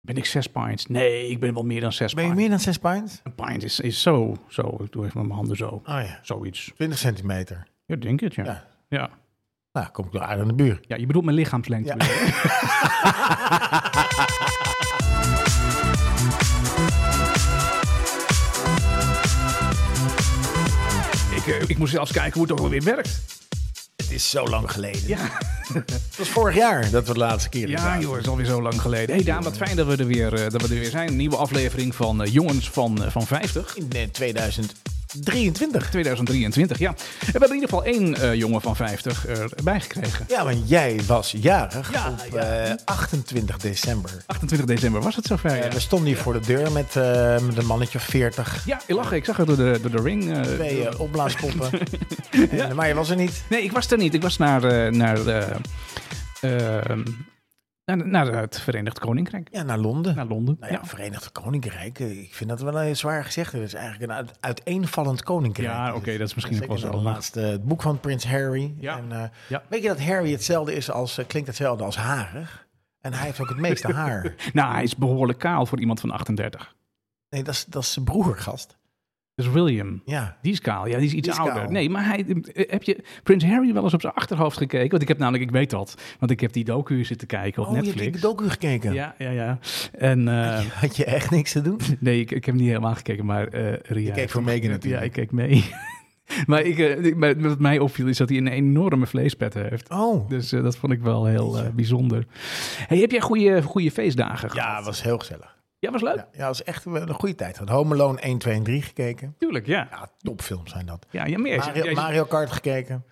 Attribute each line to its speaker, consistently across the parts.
Speaker 1: Ben ik zes pints? Nee, ik ben wel meer dan zes
Speaker 2: Ben je
Speaker 1: pints.
Speaker 2: meer dan 6 pints?
Speaker 1: Een pint is, is zo, zo. Ik doe even met mijn handen zo.
Speaker 2: Oh ja,
Speaker 1: Zoiets.
Speaker 2: 20 centimeter.
Speaker 1: Ja, ik denk het, ja.
Speaker 2: Ja.
Speaker 1: Ja, ja.
Speaker 2: Nou, kom ik nog aardig aan de buur.
Speaker 1: je bedoelt mijn lichaamslengte. bedoel je? ik, eh, ik moest zelfs kijken hoe het ook alweer werkt.
Speaker 2: Het is zo lang geleden.
Speaker 1: Ja,
Speaker 2: Het was vorig jaar dat we de laatste keer hier
Speaker 1: ja
Speaker 2: zaten.
Speaker 1: joh, het is alweer zo lang geleden. hey Daan, wat fijn dat we er weer, eh, dat we er weer zijn. Een nieuwe aflevering van eh, Jongens van, eh, van 50.
Speaker 2: In eh, 2023.
Speaker 1: 2023, ja. En we hebben in ieder geval één eh, jongen van 50 erbij gekregen.
Speaker 2: Ja, want jij was jarig
Speaker 1: Ja,
Speaker 2: op
Speaker 1: ja.
Speaker 2: eh, 28 december.
Speaker 1: 28 december was het zover.
Speaker 2: Eh,
Speaker 1: Ja,
Speaker 2: we stonden hier voor de deur met, eh, met een mannetje of 40.
Speaker 1: ja ik lach, ik zag het door de, door de ring. eh,
Speaker 2: Twee eh, opblaaspoppen. En- maar je was er niet.
Speaker 1: Nee, ik was er niet. Ik was naar, eh, naar, eh, ehm, naar, naar het Verenigd Koninkrijk.
Speaker 2: Ja, naar Londen.
Speaker 1: Naar Londen.
Speaker 2: nou ja, Verenigd Koninkrijk. eh, Ik vind dat wel een zwaar gezegd. Het is eigenlijk een uit- uiteenvallend koninkrijk.
Speaker 1: Ja,
Speaker 2: Dus
Speaker 1: oké, dat is misschien
Speaker 2: zeker
Speaker 1: ook wel
Speaker 2: na
Speaker 1: zo.
Speaker 2: de laatste, het boek van Prins Harry.
Speaker 1: Ja.
Speaker 2: En, eh,
Speaker 1: Ja.
Speaker 2: Weet je dat Harry hetzelfde is als, eh, klinkt hetzelfde als harig? En hij heeft ook het meeste haar.
Speaker 1: Nou, hij is behoorlijk kaal voor iemand van 38.
Speaker 2: Nee, dat is, dat is zijn broer, gast.
Speaker 1: Dus William.
Speaker 2: Ja.
Speaker 1: Die is kaal, ja, die is iets
Speaker 2: Die is
Speaker 1: ouder.
Speaker 2: kaal.
Speaker 1: Nee, maar hij, eh, heb je Prins Harry wel eens op zijn achterhoofd gekeken? Want ik heb namelijk, ik weet dat, want ik heb die docu zitten kijken op
Speaker 2: Oh, je hebt
Speaker 1: Netflix.
Speaker 2: de docu gekeken.
Speaker 1: ja, ja, ja. En eh,
Speaker 2: Had je echt niks te doen?
Speaker 1: nee, ik, ik heb hem niet helemaal gekeken, maar eh Ria.
Speaker 2: Ik keek voor Megan
Speaker 1: ja,
Speaker 2: natuurlijk.
Speaker 1: ik keek mee. maar ik, eh, ik- maar wat mij opviel is dat hij een enorme vleespet heeft.
Speaker 2: Oh.
Speaker 1: Dus eh, dat vond ik wel heel eh, bijzonder. Hey, heb jij goede, goede feestdagen
Speaker 2: Ja,
Speaker 1: gehad?
Speaker 2: het was heel gezellig.
Speaker 1: Ja, was leuk?
Speaker 2: Ja, ja, het was echt een goede tijd. We hadden Home Alone 1, 2 en 3 gekeken.
Speaker 1: Tuurlijk, ja.
Speaker 2: Ja, topfilms zijn dat.
Speaker 1: Ja, ja meer.
Speaker 2: Mario,
Speaker 1: Jij-
Speaker 2: Mario Kart gekeken.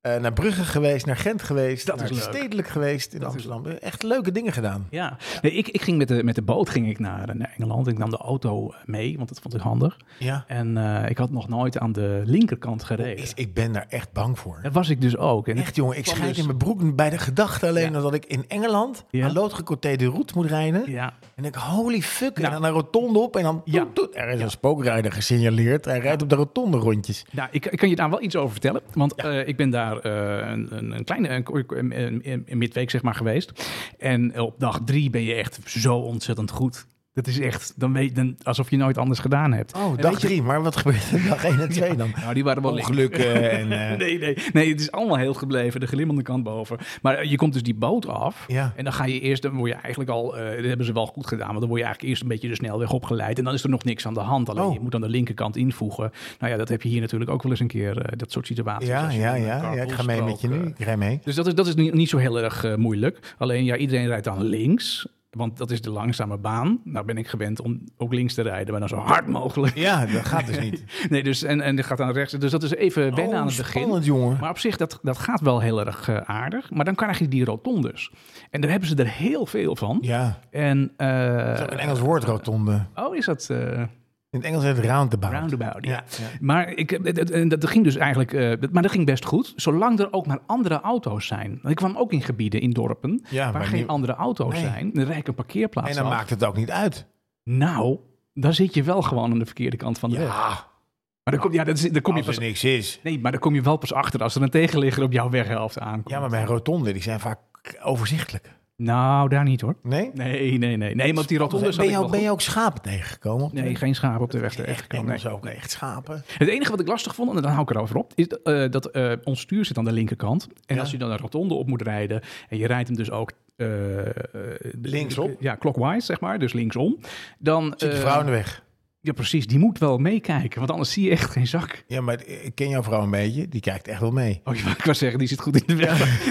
Speaker 2: Eh, naar Brugge geweest, naar Gent geweest.
Speaker 1: Dat
Speaker 2: naar
Speaker 1: is leuk.
Speaker 2: Stedelijk geweest in Amsterdam. Echt leuke dingen gedaan.
Speaker 1: Ja, nee, ik, ik ging met de, met de boot ging ik naar, eh, naar Engeland. Ik nam de auto eh, mee, want dat vond ik handig.
Speaker 2: Ja.
Speaker 1: En eh, ik had nog nooit aan de linkerkant gereden.
Speaker 2: Ik, ik ben daar echt bang voor.
Speaker 1: Dat was ik dus ook. En
Speaker 2: Echt jongen, ik
Speaker 1: kwam
Speaker 2: schijt
Speaker 1: dus-
Speaker 2: in mijn broek bij de gedachte alleen dat ik in Engeland
Speaker 1: Ja.
Speaker 2: aan loodgecoté de route moet rijden.
Speaker 1: ja,
Speaker 2: En ik, holy fuck, en
Speaker 1: Nou.
Speaker 2: dan een rotonde op en dan...
Speaker 1: Ja.
Speaker 2: toet, toet. Er is een spookrijder gesignaleerd. Hij rijdt op de rotonde rondjes.
Speaker 1: nou, ik, ik kan je daar wel iets over vertellen. Want eh, ik ben daar eh, een, een, een kleine een, een, een- een midweek zeg maar geweest. En eh, op dag drie ben je echt zo ontzettend goed. Dat is echt, dan weet dan, alsof je nooit anders gedaan hebt.
Speaker 2: Oh,
Speaker 1: En
Speaker 2: dag
Speaker 1: weet je-
Speaker 2: drie. Maar wat gebeurt er dag 1 en 2 dan?
Speaker 1: Nou, die waren wel licht.
Speaker 2: Ongelukken en... eh,
Speaker 1: Nee, nee, nee, het is allemaal heel gebleven, de glimmende kant boven. Maar eh, je komt dus die boot af
Speaker 2: Ja.
Speaker 1: en dan ga je eerst, dan word je eigenlijk al, eh, dat hebben ze wel goed gedaan, want dan word je eigenlijk eerst een beetje de snelweg opgeleid en dan is er nog niks aan de hand. Alleen
Speaker 2: Oh.
Speaker 1: je moet aan de linkerkant invoegen. Nou ja, dat heb je hier natuurlijk ook wel eens een keer, eh, dat soort situaties.
Speaker 2: ja,
Speaker 1: Als je
Speaker 2: ja,
Speaker 1: een, eh,
Speaker 2: ja, ja. Ik ga mee met je nu.
Speaker 1: carpoolstrook,
Speaker 2: Ik rij mee.
Speaker 1: eh, Dus dat is, dat is niet, niet zo heel erg eh, moeilijk. Alleen ja, iedereen rijdt dan links. Want dat is de langzame baan. Nou ben ik gewend om ook links te rijden, maar dan zo hard mogelijk.
Speaker 2: Ja, dat gaat dus niet.
Speaker 1: Nee, dus en, en die gaat dan rechts. Dus dat is even wennen
Speaker 2: Oh,
Speaker 1: aan het begin.
Speaker 2: spannend, jongen.
Speaker 1: Maar op zich, dat, dat gaat wel heel erg eh, aardig. Maar dan krijg je die rotondes. En daar hebben ze er heel veel van.
Speaker 2: Ja,
Speaker 1: En, eh,
Speaker 2: dat is ook een Engels woord rotonde.
Speaker 1: oh, is dat eh,
Speaker 2: In het Engels heet het roundabout.
Speaker 1: roundabout? Ja.
Speaker 2: Ja, ja.
Speaker 1: Maar ik, eh, dat, en dat ging dus eigenlijk, eh, dat- maar dat ging best goed. Zolang er ook maar andere auto's zijn. Want ik kwam ook in gebieden, in dorpen,
Speaker 2: Ja,
Speaker 1: waar
Speaker 2: maar
Speaker 1: geen
Speaker 2: niet-
Speaker 1: andere auto's
Speaker 2: Nee.
Speaker 1: zijn. Dan rijd ik een parkeerplaats
Speaker 2: En dan
Speaker 1: af.
Speaker 2: maakt het ook niet uit.
Speaker 1: Nou, dan zit je wel gewoon aan de verkeerde kant van de weg. Maar
Speaker 2: Ja,
Speaker 1: dan kom, ja, dat is, dan kom je
Speaker 2: als
Speaker 1: pas
Speaker 2: er niks is.
Speaker 1: Nee, maar daar kom je wel pas achter als er een tegenligger op jouw weghelft aankomt.
Speaker 2: Ja, maar bij rotonden, die zijn vaak overzichtelijk.
Speaker 1: Nou, daar niet hoor.
Speaker 2: Nee?
Speaker 1: Nee, nee, nee. Nee, want die rotonde
Speaker 2: ben, je ook, ben je ook schapen tegengekomen? op de
Speaker 1: Nee,
Speaker 2: weg?
Speaker 1: geen schapen op de weg
Speaker 2: echt
Speaker 1: terechtgekomen.
Speaker 2: Engels
Speaker 1: Nee. Eh,
Speaker 2: ook. Echt schapen.
Speaker 1: Het enige wat ik lastig vond, en dan hou ik erover op, is dat, eh, dat eh, ons stuur zit aan de linkerkant. En
Speaker 2: Ja.
Speaker 1: als je dan een rotonde op moet rijden en je rijdt hem dus ook... eh, eh,
Speaker 2: Linksom?
Speaker 1: Ja, clockwise, zeg maar. Dus linksom. Dan,
Speaker 2: Zit je
Speaker 1: eh,
Speaker 2: vrouw in de weg?
Speaker 1: ja, precies. Die moet wel meekijken, want anders zie je echt geen zak.
Speaker 2: Ja, maar ik ken jouw vrouw een beetje. Die kijkt echt wel mee.
Speaker 1: Oh, je wou- ik wou zeggen, die zit goed in de weg.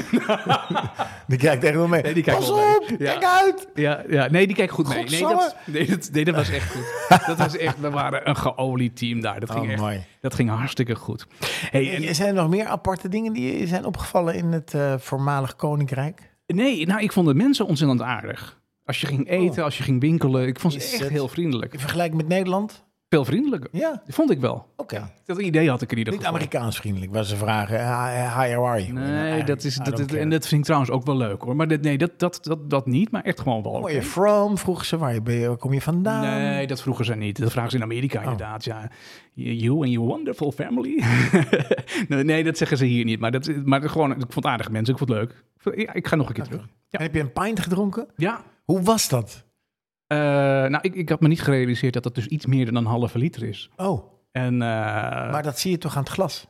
Speaker 2: Die kijkt echt wel mee.
Speaker 1: die kijkt
Speaker 2: Pas
Speaker 1: wel mee.
Speaker 2: op!
Speaker 1: Ja.
Speaker 2: Kijk uit!
Speaker 1: Ja, ja, nee, die kijken goed mee. Nee
Speaker 2: Godsamme.
Speaker 1: dat, nee, dat, nee, dat was echt goed. Dat was echt, we waren een geolied team daar. Dat ging,
Speaker 2: Oh,
Speaker 1: echt,
Speaker 2: mooi.
Speaker 1: dat ging hartstikke goed. Hey, en,
Speaker 2: En zijn er nog meer aparte dingen die je zijn opgevallen in het eh, voormalig koninkrijk?
Speaker 1: nee, nou, ik vond de mensen ontzettend aardig. Als je ging eten, als je ging winkelen. Ik vond ze
Speaker 2: Is
Speaker 1: echt
Speaker 2: het-
Speaker 1: heel vriendelijk.
Speaker 2: In vergelijking met Nederland?
Speaker 1: Veel vriendelijker.
Speaker 2: Ja,
Speaker 1: Vond ik wel.
Speaker 2: oké.
Speaker 1: Dat idee had ik in ieder
Speaker 2: Niet
Speaker 1: geval.
Speaker 2: Amerikaans vriendelijk, waar ze vragen, hi, hi, how are you? En dan
Speaker 1: Nee,
Speaker 2: eigenlijk,
Speaker 1: dat is,
Speaker 2: I
Speaker 1: dat,
Speaker 2: don't
Speaker 1: is-
Speaker 2: care.
Speaker 1: en dat vind ik trouwens ook wel leuk hoor. Maar dit, nee, dat, dat, dat, dat niet, maar echt gewoon wel.
Speaker 2: Waar
Speaker 1: oké.
Speaker 2: je from? Vroeg ze, waar, je, ben je- waar kom je vandaan?
Speaker 1: Nee, dat vroegen ze niet. Dat vragen ze in
Speaker 2: Oh.
Speaker 1: Amerika inderdaad. Ja. You and your wonderful family. nee, nee, dat zeggen ze hier niet. Maar, dat, maar gewoon, ik vond het aardige mensen. Ik vond het leuk. Ja, ik ga nog een keer terug. Ja.
Speaker 2: En heb je een pint gedronken?
Speaker 1: Ja,
Speaker 2: Hoe was dat?
Speaker 1: Eh, nou, ik, ik had me niet gerealiseerd dat dat dus iets meer dan een halve liter is.
Speaker 2: Oh,
Speaker 1: En, eh,
Speaker 2: maar dat zie je toch aan het glas?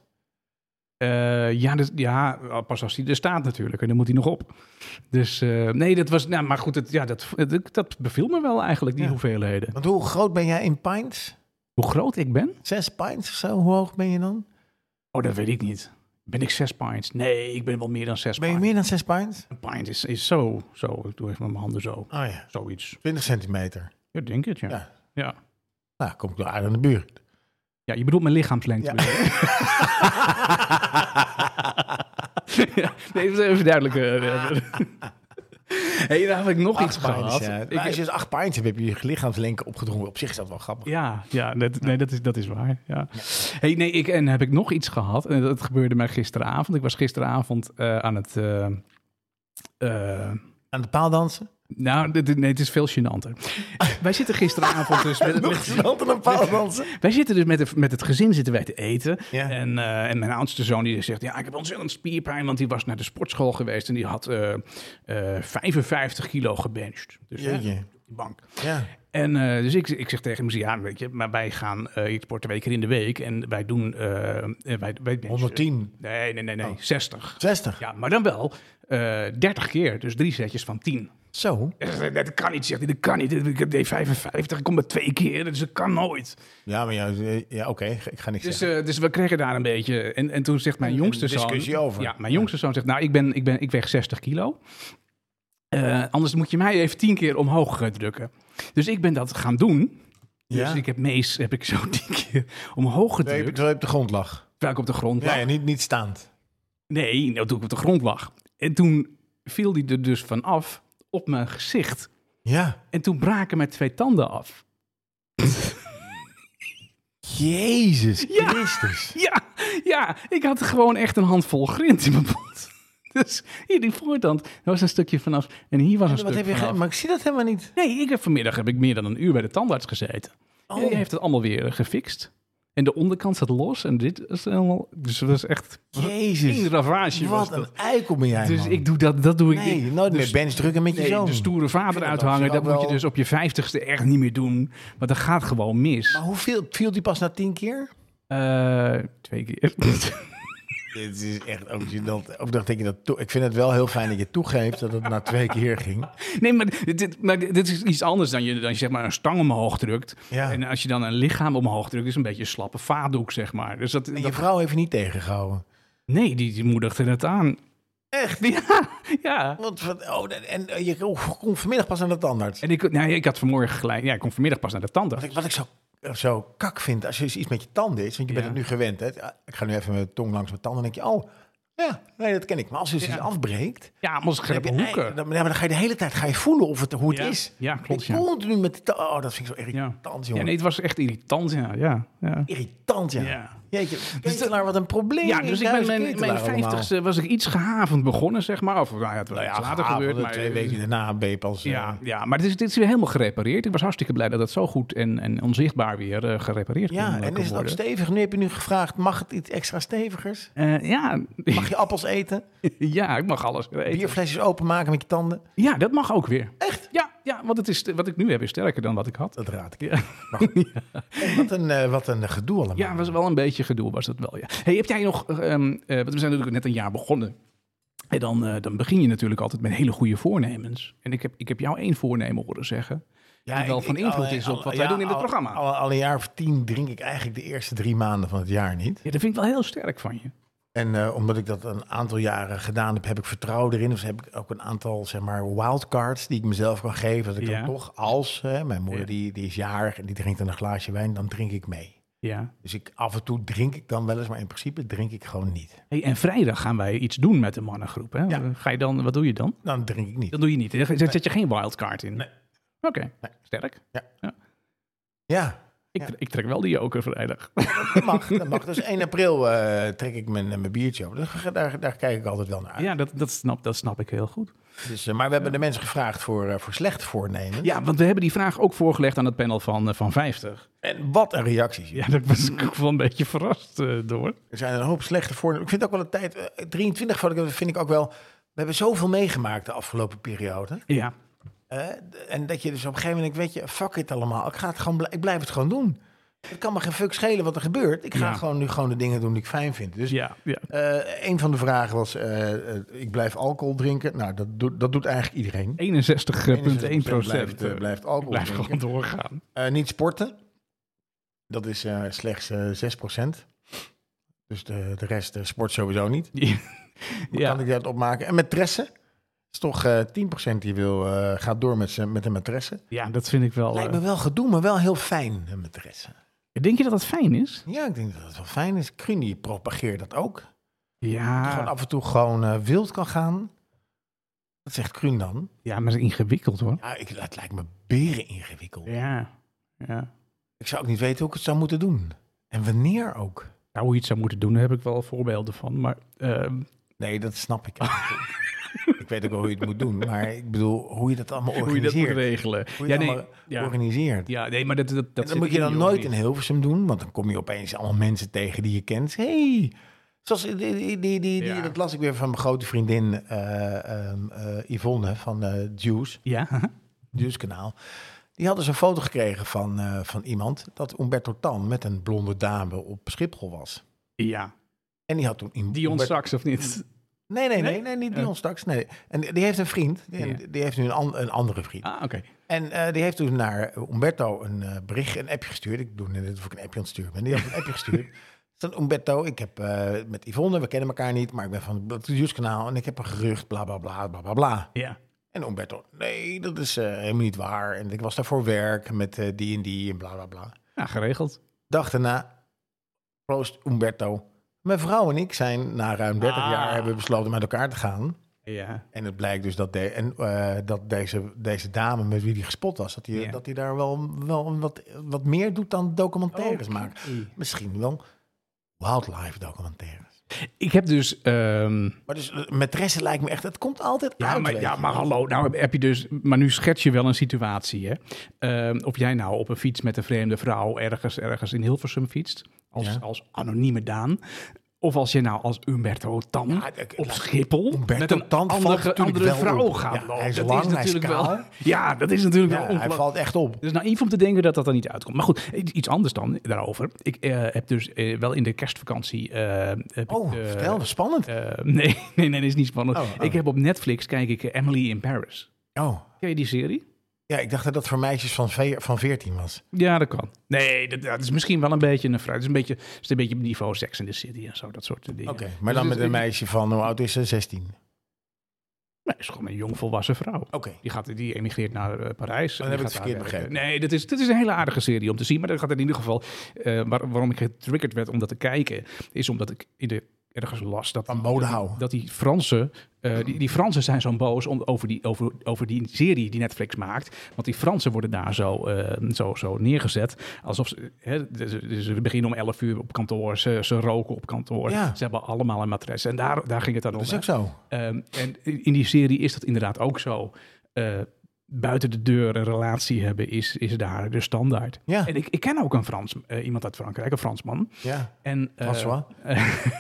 Speaker 1: eh, ja, dus- ja, pas als hij er staat natuurlijk. En dan moet hij nog op. Dus eh, nee, dat was... Nou, maar goed, het, ja, dat, dat, dat beviel me wel eigenlijk, die
Speaker 2: Ja.
Speaker 1: hoeveelheden.
Speaker 2: Want hoe groot ben jij in pints?
Speaker 1: Hoe groot ik ben?
Speaker 2: Zes pints of zo? Hoe hoog ben je dan?
Speaker 1: Oh, dat weet ik niet. Ben ik zes pints? Nee, ik ben wel meer dan zes
Speaker 2: Ben je
Speaker 1: pints.
Speaker 2: meer dan zes pints?
Speaker 1: Een pint is, is zo, zo. Ik doe even met mijn handen zo.
Speaker 2: Oh ja,
Speaker 1: Zoiets.
Speaker 2: 20 centimeter.
Speaker 1: Ja, denk het, ja.
Speaker 2: Ja.
Speaker 1: Ja, ja.
Speaker 2: Nou, kom ik wel aardig aan de buurt.
Speaker 1: je bedoelt mijn lichaamslengte.
Speaker 2: Ja.
Speaker 1: bedoel je? Ja, nee, dat is even duidelijk. eh, hey, daar heb ik nog iets gehad.
Speaker 2: ja.
Speaker 1: Ik-
Speaker 2: Maar als je dus acht pints hebt, heb je je lichaamslenken opgedrongen. Op zich is dat wel grappig.
Speaker 1: ja, ja, dat, nee, dat is, dat is waar. Ja. Hey, nee, ik, en heb ik nog iets gehad. En dat gebeurde mij gisteravond. Ik was gisteravond eh, aan het... eh, eh,
Speaker 2: Aan de paal dansen?
Speaker 1: nou, dit- dit- nee, het is veel gênanter. Wij zitten gisteravond dus met,
Speaker 2: Ah. Nog
Speaker 1: met,
Speaker 2: iemand aan de paal dansen?
Speaker 1: Wij zitten dus met, de- met het gezin zitten wij te eten.
Speaker 2: Ja.
Speaker 1: En, eh, en mijn oudste zoon die zegt, ja, ik heb ontzettend spierpijn, want die was naar de sportschool geweest en die had eh, eh, 55 kilo gebenched. Dus hè,
Speaker 2: Jeetje.
Speaker 1: op die bank.
Speaker 2: Ja.
Speaker 1: En eh, dus ik, ik zeg tegen hem, ja, weet je, maar wij gaan, eh ik sport twee keer in de week en wij doen, eh, eh, wij, wij benchen-
Speaker 2: 110,
Speaker 1: Nee, nee, nee, nee, 60.
Speaker 2: 60.
Speaker 1: Ja, maar dan wel eh 30 keer, dus drie setjes van 10.
Speaker 2: Zo.
Speaker 1: Hij zegt, Dat kan niet, zegt hij, dat kan niet. Ik deed 55, ik kom maar twee keer, dus dat kan nooit.
Speaker 2: Ja, maar ja, ja oké, ik ga niks
Speaker 1: Dus,
Speaker 2: zeggen.
Speaker 1: eh, dus we kregen daar een beetje. En, en toen zegt mijn
Speaker 2: Een-
Speaker 1: jongste
Speaker 2: een
Speaker 1: zoon.
Speaker 2: discussie over.
Speaker 1: Ja, mijn jongste zoon zegt: Nou, ik, ben, ik, ben, ik weeg 60 kilo. Eh, anders moet je mij even tien keer omhoog eh, drukken. Dus ik ben dat gaan doen. Dus
Speaker 2: Ja.
Speaker 1: ik heb mees heb ik zo tien keer omhoog gedrukt.
Speaker 2: Nee, terwijl je op de grond lag.
Speaker 1: Terwijl ik op de grond lag.
Speaker 2: Ja, ja, niet, niet staand.
Speaker 1: Nee, nou, toen ik op de grond lag. En toen viel die er dus vanaf op mijn gezicht.
Speaker 2: Ja.
Speaker 1: En toen braken mijn twee tanden af.
Speaker 2: Jezus Christus.
Speaker 1: Ja, ja, ik had gewoon echt een handvol grind in mijn mond. Dus hier die voortand, daar was een stukje vanaf. En hier was een
Speaker 2: Wat
Speaker 1: stuk
Speaker 2: heb je ge-
Speaker 1: vanaf.
Speaker 2: maar Oh. ik zie dat helemaal niet.
Speaker 1: Nee, ik heb vanmiddag heb ik meer dan een uur bij de tandarts gezeten. En die heeft het allemaal weer eh, gefixt. En de onderkant zat los en dit is helemaal... Dus het was echt één
Speaker 2: Jezus.
Speaker 1: ravage was
Speaker 2: Wat een
Speaker 1: dat.
Speaker 2: eikel ben jij,
Speaker 1: Dus
Speaker 2: man.
Speaker 1: ik doe dat, dat doe ik...
Speaker 2: Nee,
Speaker 1: ik-
Speaker 2: nooit
Speaker 1: dus-
Speaker 2: meer bench drukken met je
Speaker 1: Nee,
Speaker 2: zoon.
Speaker 1: de stoere vader
Speaker 2: dat
Speaker 1: uithangen,
Speaker 2: als je
Speaker 1: dat
Speaker 2: ook
Speaker 1: moet je
Speaker 2: wel-
Speaker 1: dus op je vijftigste echt niet meer doen. Want dat gaat gewoon mis.
Speaker 2: Maar hoeveel viel die pas na tien keer?
Speaker 1: Eh, twee keer.
Speaker 2: Dit is echt ook gênant. Ook dan denk je dat toe- ik vind het wel heel fijn dat je toegeeft dat het na twee keer ging.
Speaker 1: Nee, maar dit- dit, maar dit dit is iets anders dan je, dan je zeg maar een stang omhoog drukt.
Speaker 2: Ja.
Speaker 1: En als je dan een lichaam omhoog drukt, is een beetje een slappe vaatdoek, zeg maar. Dus dat,
Speaker 2: En je
Speaker 1: dat-
Speaker 2: vrouw heeft je niet tegengehouden.
Speaker 1: nee, die, die moedigde het aan.
Speaker 2: Echt?
Speaker 1: Ja, ja.
Speaker 2: Want, wat- oh, en en je kon vanmiddag pas aan de tandarts.
Speaker 1: En ik, nou, ik had vanmorgen gelijk, ja, ik kon vanmiddag pas naar de
Speaker 2: Wat
Speaker 1: tandarts.
Speaker 2: ik, wat ik zo, zo kak vind als je dus iets met je tanden is, want je bent
Speaker 1: Ja.
Speaker 2: het nu gewend. Hè? Ik ga nu even mijn tong langs mijn tanden en denk je, oh, ja, nee, dat ken ik. Maar als je iets afbreekt,
Speaker 1: Ja, allemaal
Speaker 2: heb
Speaker 1: scherpe
Speaker 2: je- nee,
Speaker 1: hoeken.
Speaker 2: dan, ja, maar dan ga je de hele tijd ga je voelen of het, hoe het
Speaker 1: Ja.
Speaker 2: is.
Speaker 1: Ja, klopt,
Speaker 2: Je
Speaker 1: ja.
Speaker 2: voelt nu met de ta- Oh, dat vind ik zo
Speaker 1: Ja.
Speaker 2: irritant,
Speaker 1: ja,
Speaker 2: jongen.
Speaker 1: nee, het was echt irritant, ja. ja, ja.
Speaker 2: Irritant, ja.
Speaker 1: Ja. Dus
Speaker 2: Jeetje, Ketelaar, wat een probleem.
Speaker 1: Ja, dus ik ben mijn, mijn vijftigste was ik iets gehavend begonnen, zeg maar. Of nou ja, het was iets later gebeurd. Maar,
Speaker 2: twee weken daarna ben je pas... eh,
Speaker 1: Ja, ja maar dit is, dit is weer helemaal gerepareerd. Ik was hartstikke blij dat het zo goed en, en onzichtbaar weer eh, gerepareerd kon,
Speaker 2: ja,
Speaker 1: eh,
Speaker 2: en
Speaker 1: kon
Speaker 2: is het ook
Speaker 1: worden.
Speaker 2: stevig? Nu heb je nu gevraagd, mag het iets extra stevigers?
Speaker 1: Eh, ja.
Speaker 2: Mag je appels eten?
Speaker 1: ja, ik mag alles eten.
Speaker 2: Bierflesjes openmaken met je tanden?
Speaker 1: Ja, dat mag ook weer.
Speaker 2: Echt?
Speaker 1: Ja, ja want het is, wat ik nu heb is sterker dan wat ik had.
Speaker 2: Dat raad ik.
Speaker 1: Ja,
Speaker 2: Maar goed. Hey, wat, een, eh, wat een gedoe allemaal.
Speaker 1: ja was wel een beetje gedoe, was dat wel. Ja. Hey, heb jij nog, ehm, eh, want we zijn natuurlijk net een jaar begonnen. En dan, eh, dan begin je natuurlijk altijd met hele goede voornemens. En ik heb, ik heb jou één voornemen horen zeggen. die wel van invloed is op wat wij doen in het
Speaker 2: al-
Speaker 1: programma.
Speaker 2: Al, al een jaar of tien drink ik eigenlijk de eerste drie maanden van het jaar niet.
Speaker 1: Ja, dat vind ik wel heel sterk van je.
Speaker 2: En eh, omdat ik dat een aantal jaren gedaan heb, heb ik vertrouwen erin. Dus heb ik ook een aantal zeg maar, wildcards die ik mezelf kan geven. Dat ik
Speaker 1: Ja.
Speaker 2: dan toch, als hè, mijn moeder
Speaker 1: Ja.
Speaker 2: die, die is jarig en die drinkt dan een glaasje wijn, dan drink ik mee.
Speaker 1: Ja.
Speaker 2: Dus ik, af en toe drink ik dan wel eens, maar in principe drink ik gewoon niet.
Speaker 1: Hey, en vrijdag gaan wij iets doen met de mannengroep. Hè?
Speaker 2: Ja.
Speaker 1: Ga je dan, wat doe je dan?
Speaker 2: Dan drink ik niet.
Speaker 1: Dat doe je niet. hè? Zet, zet je geen wildcard in?
Speaker 2: Nee.
Speaker 1: Oké,
Speaker 2: Nee.
Speaker 1: sterk.
Speaker 2: Ja,
Speaker 1: Ik,
Speaker 2: Ja.
Speaker 1: tre- ik trek wel die joker vrijdag.
Speaker 2: dat mag. Dat mag. Dus 1 april eh, trek ik mijn, mijn biertje op. Dus daar, daar kijk ik altijd wel naar uit.
Speaker 1: Ja, dat, dat, snap, dat snap ik heel goed.
Speaker 2: Dus, eh, maar we hebben de mensen gevraagd voor, eh, voor slecht voornemen.
Speaker 1: Ja, want we hebben die vraag ook voorgelegd aan het panel van, eh, van 50.
Speaker 2: En wat een reacties.
Speaker 1: Ja, daar was ik ook wel een beetje verrast eh, door.
Speaker 2: Er zijn een hoop slechte voornemen. Ik vind ook wel een tijd... eh, 23 vond ik- vind ik ook wel... We hebben zoveel meegemaakt de afgelopen periode.
Speaker 1: Ja,
Speaker 2: Eh, d- en dat je dus op een gegeven moment denkt, weet je, fuck it allemaal. Ik, ga het gewoon, bl- ik blijf het gewoon doen. Het kan me geen fuck schelen wat er gebeurt. Ik ga
Speaker 1: Ja.
Speaker 2: gewoon nu gewoon de dingen doen die ik fijn vind. Dus
Speaker 1: Ja, ja.
Speaker 2: eh, een van de vragen was, eh, eh, ik blijf alcohol drinken. Nou, dat, doet dat doet eigenlijk iedereen.
Speaker 1: 61,1
Speaker 2: Blijft, eh, blijft alcohol
Speaker 1: Blijf
Speaker 2: drinken.
Speaker 1: gewoon doorgaan.
Speaker 2: Eh, niet sporten. Dat is eh, slechts eh 6%. Dus de, de rest eh, sport sowieso niet. Hoe
Speaker 1: Ja.
Speaker 2: Kan ik dat opmaken? En matressen. is toch eh 10% die wil, eh, gaat door met, zijn- met een matresse.
Speaker 1: ja, dat vind ik wel.
Speaker 2: Lijkt
Speaker 1: eh,
Speaker 2: me wel gedoe, maar wel heel fijn, een matresse.
Speaker 1: Denk je dat dat fijn is?
Speaker 2: Ja, ik denk dat het wel fijn is. Krunie propageert dat ook. Dat je
Speaker 1: Ja,
Speaker 2: Gewoon af en toe gewoon eh, wild kan gaan. Dat zegt Kruun dan.
Speaker 1: ja maar dat is ingewikkeld hoor.
Speaker 2: Ja, ik, het lijkt me beren ingewikkeld.
Speaker 1: Ja. ja.
Speaker 2: Ik zou ook niet weten hoe ik het zou moeten doen. En wanneer ook.
Speaker 1: Nou, hoe je het zou moeten doen, daar heb ik wel voorbeelden van. Maar ehm,
Speaker 2: Nee, dat snap ik. ik weet ook wel hoe je het moet doen, maar ik bedoel hoe je dat allemaal
Speaker 1: hoe je dat moet
Speaker 2: organiseert.
Speaker 1: regelen.
Speaker 2: Hoe je
Speaker 1: ja,
Speaker 2: het
Speaker 1: nee,
Speaker 2: allemaal
Speaker 1: ja.
Speaker 2: organiseert.
Speaker 1: ja, nee, maar dat, dat, dat
Speaker 2: En
Speaker 1: zit
Speaker 2: dat moet je
Speaker 1: in
Speaker 2: dan
Speaker 1: die
Speaker 2: nooit in
Speaker 1: organisatie.
Speaker 2: Hilversum doen, want dan kom je opeens allemaal mensen tegen die je kent. hey, zoals die, die, die, die, die-
Speaker 1: Ja.
Speaker 2: dat las ik weer van mijn grote vriendin eh, ehm, eh, Yvonne van eh Juice,
Speaker 1: Ja,
Speaker 2: Juice Kanaal. Die hadden ze een foto gekregen van, eh, van iemand dat Umberto Tan met een blonde dame op Schiphol was.
Speaker 1: ja.
Speaker 2: En die had toen in
Speaker 1: Dion Saks of niet?
Speaker 2: Nee, nee,
Speaker 1: Nee?
Speaker 2: nee, nee, niet
Speaker 1: Ja.
Speaker 2: Dion straks. Nee. En die heeft een vriend. Die,
Speaker 1: Ja.
Speaker 2: die heeft nu een, an- een andere vriend.
Speaker 1: Ah, oké.
Speaker 2: En eh, die heeft toen naar Umberto een eh, bericht, een appje gestuurd. Ik doe net of ik een appje aan het sturen ben. Die had een appje gestuurd. Dan Umberto, ik heb eh, met Yvonne, we kennen elkaar niet, maar ik ben van het nieuwskanaal en ik heb een gerucht, bla bla bla bla bla bla.
Speaker 1: Ja.
Speaker 2: En Umberto, nee, dat is eh, helemaal niet waar. En ik was daar voor werk met eh, die en die en bla bla bla.
Speaker 1: ja, Nou, geregeld.
Speaker 2: Dag daarna, proost Umberto. Mijn vrouw en ik zijn na ruim 30
Speaker 1: Ah.
Speaker 2: jaar hebben we besloten met elkaar te gaan.
Speaker 1: Ja.
Speaker 2: En het blijkt dus dat, de, en, eh, dat deze, deze dame met wie die gespot was, dat hij
Speaker 1: Ja.
Speaker 2: dat die daar wel, wel wat, wat meer doet dan documentaires
Speaker 1: Oh, Oké.
Speaker 2: maken. Misschien wel wildlife documentaires.
Speaker 1: Ik heb dus... ehm,
Speaker 2: Maar dus eh, matressen lijkt me echt, het komt altijd
Speaker 1: Ja,
Speaker 2: uit.
Speaker 1: maar,
Speaker 2: weet
Speaker 1: ja,
Speaker 2: je.
Speaker 1: maar hallo, nou heb- heb je dus, maar nu schets je wel een situatie, hè? Ehm, of jij nou op een fiets met een vreemde vrouw ergens, ergens in Hilversum fietst, als,
Speaker 2: Ja.
Speaker 1: als anonieme Daan. Of als je nou als Umberto Tan
Speaker 2: ik-
Speaker 1: op
Speaker 2: laat-
Speaker 1: Schiphol
Speaker 2: Umberto
Speaker 1: met een
Speaker 2: Tan valt
Speaker 1: andere,
Speaker 2: natuurlijk
Speaker 1: andere
Speaker 2: wel
Speaker 1: vrouw
Speaker 2: op.
Speaker 1: gaat
Speaker 2: Ja,
Speaker 1: lopen.
Speaker 2: hij is
Speaker 1: dat
Speaker 2: lang,
Speaker 1: is
Speaker 2: hij is
Speaker 1: natuurlijk wel.
Speaker 2: kaal.
Speaker 1: Ja, dat is natuurlijk wel
Speaker 2: Ja, hij
Speaker 1: ongelooflijk.
Speaker 2: valt echt op.
Speaker 1: Dus naïef om te denken dat dat er niet uitkomt. Maar goed, i- iets anders dan daarover. Ik eh, heb dus eh, wel in de kerstvakantie... eh, heb
Speaker 2: Oh,
Speaker 1: ik, eh,
Speaker 2: vertel, spannend.
Speaker 1: eh, nee, nee, nee, dat is niet spannend.
Speaker 2: Oh, oh.
Speaker 1: Ik heb op Netflix, kijk ik eh, Emily in Paris.
Speaker 2: oh,
Speaker 1: Ken je die serie?
Speaker 2: ja, ik dacht dat dat voor meisjes van, ve- van 14 was.
Speaker 1: Ja, dat kan. Nee, dat, dat is misschien wel een beetje een fruit. Het is een beetje, het is een beetje op niveau Sex in the City en zo, dat soort dingen.
Speaker 2: Oké, maar dan
Speaker 1: Dus het-
Speaker 2: met een meisje van, hoe oud is ze? 16. Oké.
Speaker 1: Nee, het is gewoon een jongvolwassen vrouw. Die, gaat, die emigreert naar eh, Parijs.
Speaker 2: Oh, Dan
Speaker 1: En
Speaker 2: heb
Speaker 1: die gaat
Speaker 2: ik het verkeerd
Speaker 1: daar
Speaker 2: begrepen.
Speaker 1: werken. Nee, dat is, dat is een hele aardige serie om te zien. Maar dat gaat in ieder geval... eh, waar- waarom ik getriggerd werd om dat te kijken... is omdat ik in de, ergens las dat...
Speaker 2: Van mode houden.
Speaker 1: dat die Fransen, eh, die, die Fransen zijn zo boos om, over, die, over, over die serie die Netflix maakt. Want die Fransen worden daar zo, eh, zo, zo neergezet. Alsof ze, hè, ze, ze beginnen om 11 uur op kantoor, ze, ze roken op kantoor.
Speaker 2: Ja.
Speaker 1: Ze hebben allemaal een matres. En daar, daar ging het dan om.
Speaker 2: Dat is
Speaker 1: hè.
Speaker 2: ook zo.
Speaker 1: Ehm, en in die serie is dat inderdaad ook zo. Eh, buiten de deur een relatie hebben is, is daar de standaard.
Speaker 2: Ja,
Speaker 1: En ik, ik ken ook een Frans, eh, iemand uit Frankrijk, een Fransman.
Speaker 2: ja.
Speaker 1: En, eh,
Speaker 2: François?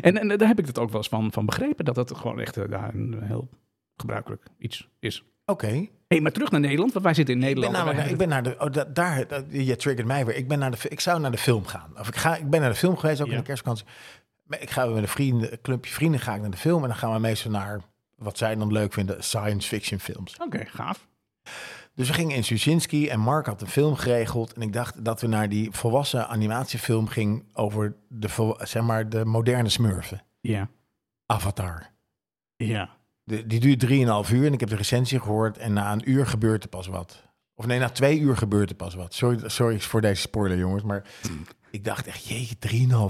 Speaker 1: en, en daar heb ik het ook wel eens van, van begrepen, dat dat gewoon echt eh, daar een heel gebruikelijk iets is.
Speaker 2: Oké.
Speaker 1: Hé, maar terug naar Nederland, want wij zitten in
Speaker 2: Ik ben
Speaker 1: Nederland.
Speaker 2: namelijk, naar- ik ben naar de, oh, da- daar, dat- je triggert mij weer. Ik ben naar de, fi- ik zou naar de film gaan. Of ik ga, ik ben naar de film geweest, ook
Speaker 1: Ja.
Speaker 2: in de kerstvakantie. Maar ik ga met een vrienden, een clubje vrienden ga ik naar de film en dan gaan we meestal naar wat zij dan leuk vinden, science fiction films.
Speaker 1: Oké, gaaf.
Speaker 2: Dus we gingen in Suzinski en Mark had een film geregeld en ik dacht dat we naar die volwassen animatiefilm ging over de, vol- zeg maar, de moderne smurfen,
Speaker 1: Ja,
Speaker 2: Avatar.
Speaker 1: ja.
Speaker 2: De- die duurt 3,5 uur en ik heb de recensie gehoord en na een uur gebeurt er pas wat. Of nee, na twee uur gebeurt er pas wat. Sorry, sorry voor deze spoiler, jongens, maar ik dacht echt, jeetje,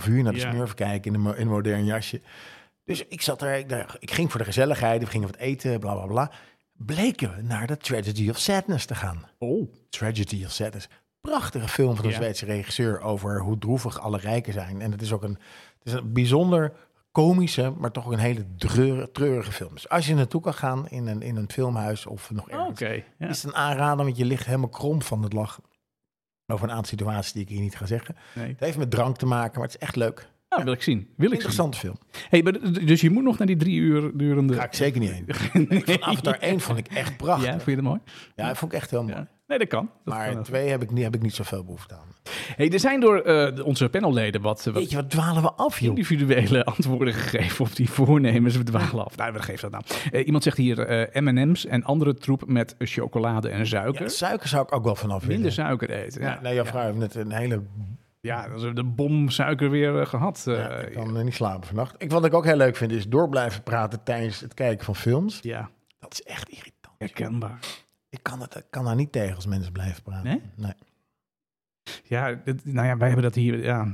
Speaker 2: 3,5 uur naar de
Speaker 1: Ja.
Speaker 2: smurf kijken in een, mo- in een modern jasje. Dus ik zat daar, ik, dacht, ik ging voor de gezelligheid, we gingen wat eten, bla bla bla. Bleken we naar de Tragedy of Sadness te gaan.
Speaker 1: Oh,
Speaker 2: Tragedy of Sadness. Prachtige film van een
Speaker 1: Ja.
Speaker 2: Zweedse regisseur over hoe droevig alle rijken zijn. En het is ook een, het is een bijzonder komische, maar toch ook een hele dreurige, treurige film. Dus als je naartoe kan gaan in een, in een filmhuis of nog
Speaker 1: Oh, oké.
Speaker 2: ergens,
Speaker 1: ja.
Speaker 2: is het een aanrader, want je ligt helemaal krom van het lachen. Over een aantal situaties die ik hier niet ga zeggen.
Speaker 1: Nee.
Speaker 2: Het heeft met drank te maken, maar het is echt leuk.
Speaker 1: Nou, wil ik zien. Wil ik zien.
Speaker 2: Interessante film.
Speaker 1: Hey, maar d- d- dus je moet nog naar die drie uur durende...
Speaker 2: Ga ik zeker niet heen.
Speaker 1: Nee.
Speaker 2: Van Avatar 1 vond ik echt prachtig.
Speaker 1: Ja,
Speaker 2: Ja,
Speaker 1: vind je dat mooi?
Speaker 2: dat vond ik echt heel mooi.
Speaker 1: Ja. Nee, dat kan. Dat kan
Speaker 2: Maar
Speaker 1: wel.
Speaker 2: twee heb ik niet, heb ik niet zoveel behoefte aan.
Speaker 1: hey, er zijn door eh, de- onze panelleden wat, eh, wat
Speaker 2: Weet je, wat dwalen we af, joh?
Speaker 1: individuele antwoorden gegeven op die voornemens. We dwalen af. Nou, wat geeft dat nou? Eh, iemand zegt hier eh, M&M's en andere troep met chocolade en
Speaker 2: Ja,
Speaker 1: suiker.
Speaker 2: suiker zou ik ook wel vanaf willen.
Speaker 1: Minder suiker eten. Ja,
Speaker 2: Ja, nou, jouw vrouw heeft net een hele...
Speaker 1: ja dan hebben we de bom suiker weer eh, gehad. eh,
Speaker 2: Ja, ik kan eh, niet slapen vannacht. Ik, wat ik ook heel leuk vind, is door blijven praten tijdens het kijken van films.
Speaker 1: ja,
Speaker 2: Dat is echt irritant.
Speaker 1: herkenbaar.
Speaker 2: Ik kan, het, ik kan daar niet tegen als mensen blijven praten.
Speaker 1: Nee?
Speaker 2: nee.
Speaker 1: Ja, dit- nou ja, wij hebben dat hier. Ja,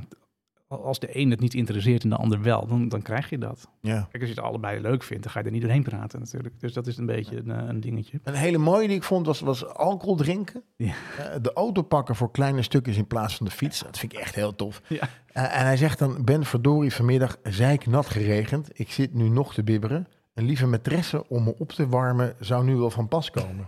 Speaker 1: als de een het niet interesseert en de ander wel, dan, dan krijg je dat.
Speaker 2: Ja.
Speaker 1: Kijk, als je het allebei leuk vindt, dan ga je er niet doorheen praten natuurlijk. Dus dat is een beetje een, eh, een dingetje.
Speaker 2: Een hele mooie die ik vond was, was alcohol drinken.
Speaker 1: Ja.
Speaker 2: Eh, de auto pakken voor kleine stukjes in plaats van de fiets. Dat vind ik echt heel tof.
Speaker 1: Ja.
Speaker 2: Eh, en hij zegt dan, ben verdorie vanmiddag zeiknat geregend. Ik zit nu nog te bibberen. Een lieve maîtresse om me op te warmen zou nu wel van pas komen.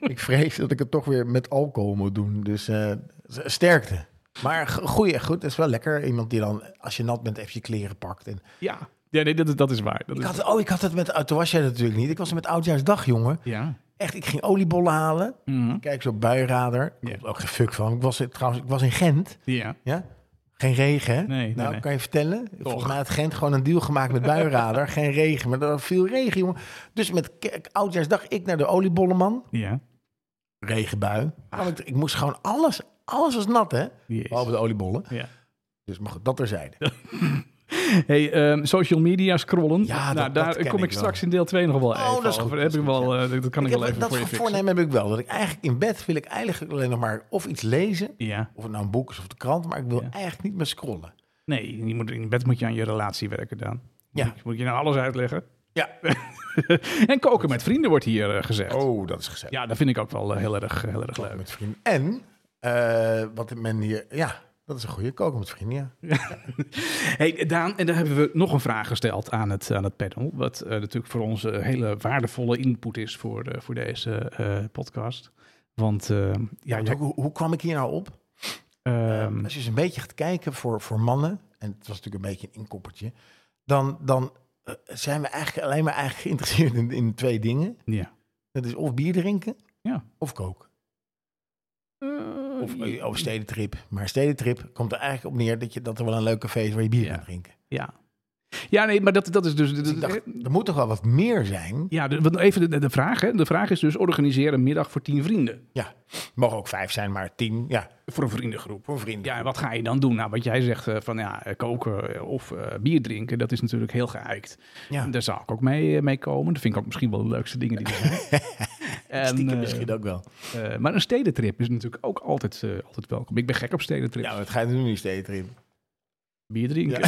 Speaker 2: ik vrees dat ik het toch weer met alcohol moet doen. Dus eh, s- sterkte. Maar g- goeie, goed. Dat is wel lekker. Iemand die dan, als je nat bent, even je kleren pakt. En
Speaker 1: Ja, ja nee, dat, is- dat is waar. Dat
Speaker 2: ik
Speaker 1: is,
Speaker 2: had, oh, ik had het met, toen was jij dat natuurlijk niet. Ik was er met Oudjaarsdag, jongen.
Speaker 1: ja.
Speaker 2: Echt, ik ging oliebollen halen.
Speaker 1: Mhm.
Speaker 2: Kijk, zo'n buienradar. Ik
Speaker 1: Ja.
Speaker 2: heb er ook geen fuck van. Ik was, in- trouwens, ik was in Gent.
Speaker 1: ja.
Speaker 2: Ja? Geen regen, hè?
Speaker 1: Nee, nee,
Speaker 2: nou,
Speaker 1: nee.
Speaker 2: kan je vertellen? Volgens mij had Gent gewoon een deal gemaakt met buienradar. geen regen, maar er viel regen, jongen. Dus met ke- oudjaarsdag ik naar de oliebollenman.
Speaker 1: Ja.
Speaker 2: Regenbui. Nou, Ik, ik moest gewoon alles, alles was nat, hè?
Speaker 1: Ah. Jezus.
Speaker 2: Behalve de oliebollen.
Speaker 1: Ja.
Speaker 2: Dus maar goed, dat terzijde.
Speaker 1: Hey, ehm, social media scrollen.
Speaker 2: Ja, dat-
Speaker 1: nou,
Speaker 2: dat
Speaker 1: daar
Speaker 2: ken
Speaker 1: kom ik,
Speaker 2: ik wel.
Speaker 1: straks in deel 2 nog wel
Speaker 2: Oh,
Speaker 1: even
Speaker 2: dat is goed,
Speaker 1: over.
Speaker 2: dat
Speaker 1: Heb
Speaker 2: is
Speaker 1: ik
Speaker 2: goed,
Speaker 1: wel, eh, dat- dat kan ik,
Speaker 2: heb-
Speaker 1: wel even
Speaker 2: dat
Speaker 1: voor je fixen.
Speaker 2: voornemen heb ik wel. Dat ik eigenlijk in bed wil ik eigenlijk alleen nog maar of iets lezen.
Speaker 1: Ja,
Speaker 2: Of het nou een boek is of de krant. Maar ik wil
Speaker 1: Ja.
Speaker 2: eigenlijk niet meer scrollen.
Speaker 1: nee, je moet, in bed moet je aan je relatie werken, Daan.
Speaker 2: Ja.
Speaker 1: Moet ik- Moet ik je nou alles uitleggen?
Speaker 2: Ja.
Speaker 1: en koken met vrienden wordt hier eh, gezegd.
Speaker 2: Oh, dat is gezellig.
Speaker 1: Ja, dat vind ik ook wel eh, heel, erg, heel erg
Speaker 2: Koken
Speaker 1: leuk.
Speaker 2: met vrienden. En eh, wat men hier, ja, dat is een goede koken met vrienden. Ja.
Speaker 1: Hey, Daan, en daar hebben we nog een vraag gesteld aan het, aan het panel. Wat eh, natuurlijk voor ons eh, hele waardevolle input is voor, eh, voor deze eh, podcast. Want eh, ja,
Speaker 2: Want
Speaker 1: jij-
Speaker 2: hoe, hoe kwam ik hier nou op? Eh,
Speaker 1: ehm,
Speaker 2: Als je eens een beetje gaat kijken voor, voor mannen, en het was natuurlijk een beetje een inkoppertje, dan, dan eh, zijn we eigenlijk alleen maar eigenlijk geïnteresseerd in, in twee dingen.
Speaker 1: ja.
Speaker 2: Dat is of bier drinken,
Speaker 1: Ja.
Speaker 2: of koken.
Speaker 1: Eh,
Speaker 2: Of, eh, of stedentrip. Maar stedentrip komt er eigenlijk op neer dat, je, dat er wel een leuke feest waar je bier
Speaker 1: Ja.
Speaker 2: kan drinken.
Speaker 1: Ja. Ja, nee, maar dat, dat is dus...
Speaker 2: Dus ik dacht, er moet toch wel wat meer zijn.
Speaker 1: ja, de- want even de, de vraag. Hè. De vraag is dus organiseer een middag voor tien vrienden.
Speaker 2: Ja, mogen ook vijf zijn, maar tien. Ja,
Speaker 1: Voor een vriendengroep.
Speaker 2: voor vrienden.
Speaker 1: Ja, en wat ga je dan doen? Nou, wat jij zegt eh, van ja, eh, koken eh, of eh, bier drinken, dat is natuurlijk heel geëikt.
Speaker 2: Ja.
Speaker 1: Daar zou ik ook mee, eh, mee komen. Dat vind ik ook misschien wel de leukste dingen die er zijn. En,
Speaker 2: Stiekem
Speaker 1: eh,
Speaker 2: misschien ook wel.
Speaker 1: eh, maar een stedentrip is natuurlijk ook altijd, eh, altijd welkom. Ik ben gek op stedentrips.
Speaker 2: Ja, maar het gaat nu niet stedentrip.
Speaker 1: Bier drinken.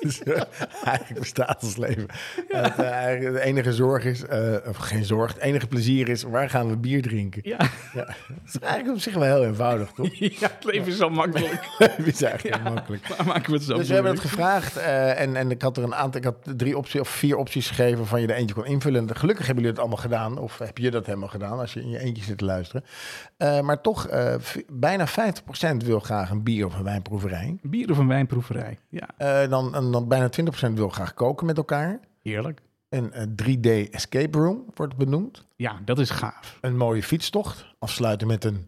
Speaker 2: Dus, eh, eigenlijk bestaat ons leven. Het, eh, eigenlijk de enige zorg is, eh, of geen zorg, het enige plezier is, waar gaan we bier drinken?
Speaker 1: Ja,
Speaker 2: Ja. Dat is eigenlijk op zich wel heel eenvoudig, toch?
Speaker 1: Ja, het leven is zo makkelijk.
Speaker 2: dat is eigenlijk heel makkelijk.
Speaker 1: Waar maken we het zo
Speaker 2: Dus we hebben het
Speaker 1: moeilijk?
Speaker 2: gevraagd eh, en, en ik had er een aantal, ik had drie opties of vier opties gegeven van je er eentje kon invullen. Gelukkig hebben jullie het allemaal gedaan, of heb je dat helemaal gedaan als je in je eentje zit te luisteren. Eh, maar toch, eh, v- bijna 50% wil graag een bier of een wijnproeverij.
Speaker 1: Bier of een wijnproeverij. Ja,
Speaker 2: Eh, dan, en dan bijna 20% wil graag koken met elkaar.
Speaker 1: heerlijk.
Speaker 2: Een eh, 3D escape room wordt benoemd.
Speaker 1: Ja, dat is gaaf.
Speaker 2: Een mooie fietstocht. Afsluiten met een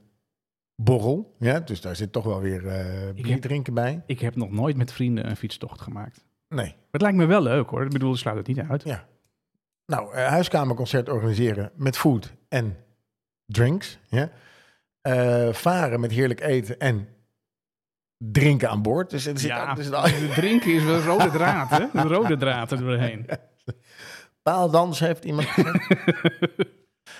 Speaker 2: borrel. Ja, dus daar zit toch wel weer eh bier
Speaker 1: heb-
Speaker 2: drinken bij.
Speaker 1: Ik heb nog nooit met vrienden een fietstocht gemaakt.
Speaker 2: Nee.
Speaker 1: Maar het lijkt me wel leuk hoor. Ik bedoel, ik sluit het niet uit.
Speaker 2: Nou, eh, huiskamerconcert organiseren met food en drinks. Ja. Eh, varen met heerlijk eten en drinken aan boord. Dus er zit,
Speaker 1: Ja.
Speaker 2: al- er zit al een
Speaker 1: Drinken is wel een rode draad, hè? Een rode draad er doorheen.
Speaker 2: paaldans, heeft iemand gezegd.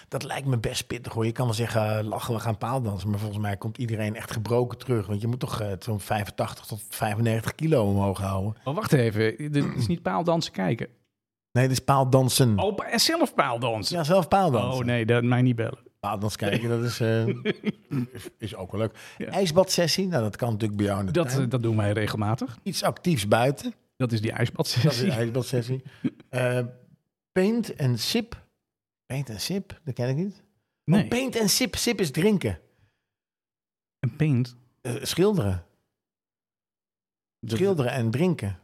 Speaker 2: Dat lijkt me best pittig hoor. Je kan wel zeggen, eh, lachen, we gaan paaldansen. Maar volgens mij komt iedereen echt gebroken terug. Want je moet toch eh, zo'n 85 tot 95 kilo omhoog houden.
Speaker 1: Maar wacht even, dit is niet paaldansen kijken.
Speaker 2: Nee, dit is paaldansen.
Speaker 1: Oh, pa- zelf paaldansen.
Speaker 2: Ja, zelf paaldansen.
Speaker 1: Oh nee, dat, mij niet bellen.
Speaker 2: Paaldans kijken, dat is, eh, is, is ook wel leuk.
Speaker 1: Ja.
Speaker 2: IJsbadsessie, nou dat kan natuurlijk bij jou in de
Speaker 1: Dat,
Speaker 2: tuin.
Speaker 1: eh, dat doen wij regelmatig.
Speaker 2: Iets actiefs buiten,
Speaker 1: Dat is die
Speaker 2: dat is een
Speaker 1: ijsbadsessie.
Speaker 2: ijsbadsessie. Eh, paint en sip. Paint en sip, dat ken ik niet. Oh,
Speaker 1: Nee,
Speaker 2: Paint en sip, sip is drinken.
Speaker 1: een paint.
Speaker 2: Eh, schilderen. Schilderen en drinken.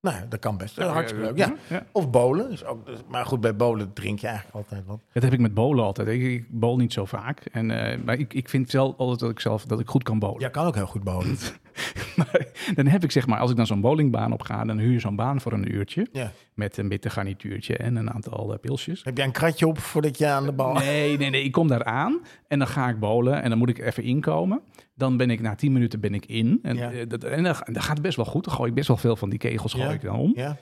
Speaker 2: Nou, dat kan best. Dat is hartstikke leuk. Ja.
Speaker 1: ja.
Speaker 2: Of bolen. Is ook, dus- maar goed, bij bolen drink je eigenlijk altijd wat.
Speaker 1: Dat heb ik met bolen altijd. Ik, ik bol niet zo vaak. En, eh, maar ik, ik vind zelf altijd dat ik zelf dat ik goed kan bolen.
Speaker 2: Jij kan ook heel goed bolen.
Speaker 1: Maar dan heb ik zeg maar, als ik dan zo'n bowlingbaan op ga, dan huur je zo'n baan voor een uurtje.
Speaker 2: ja.
Speaker 1: Met een witte garnituurtje en een aantal eh, pilsjes.
Speaker 2: Heb jij een kratje op voordat je aan de bal...
Speaker 1: Nee, nee, nee. Ik kom daar aan en dan ga ik bowlen en dan moet ik even inkomen. Dan ben ik na 10 minuten ben ik in. En,
Speaker 2: Ja.
Speaker 1: eh, dat, en dan, ga- dan gaat het best wel goed. Dan gooi ik best wel veel van die kegels gooi
Speaker 2: Ja.
Speaker 1: ik dan om.
Speaker 2: Ja.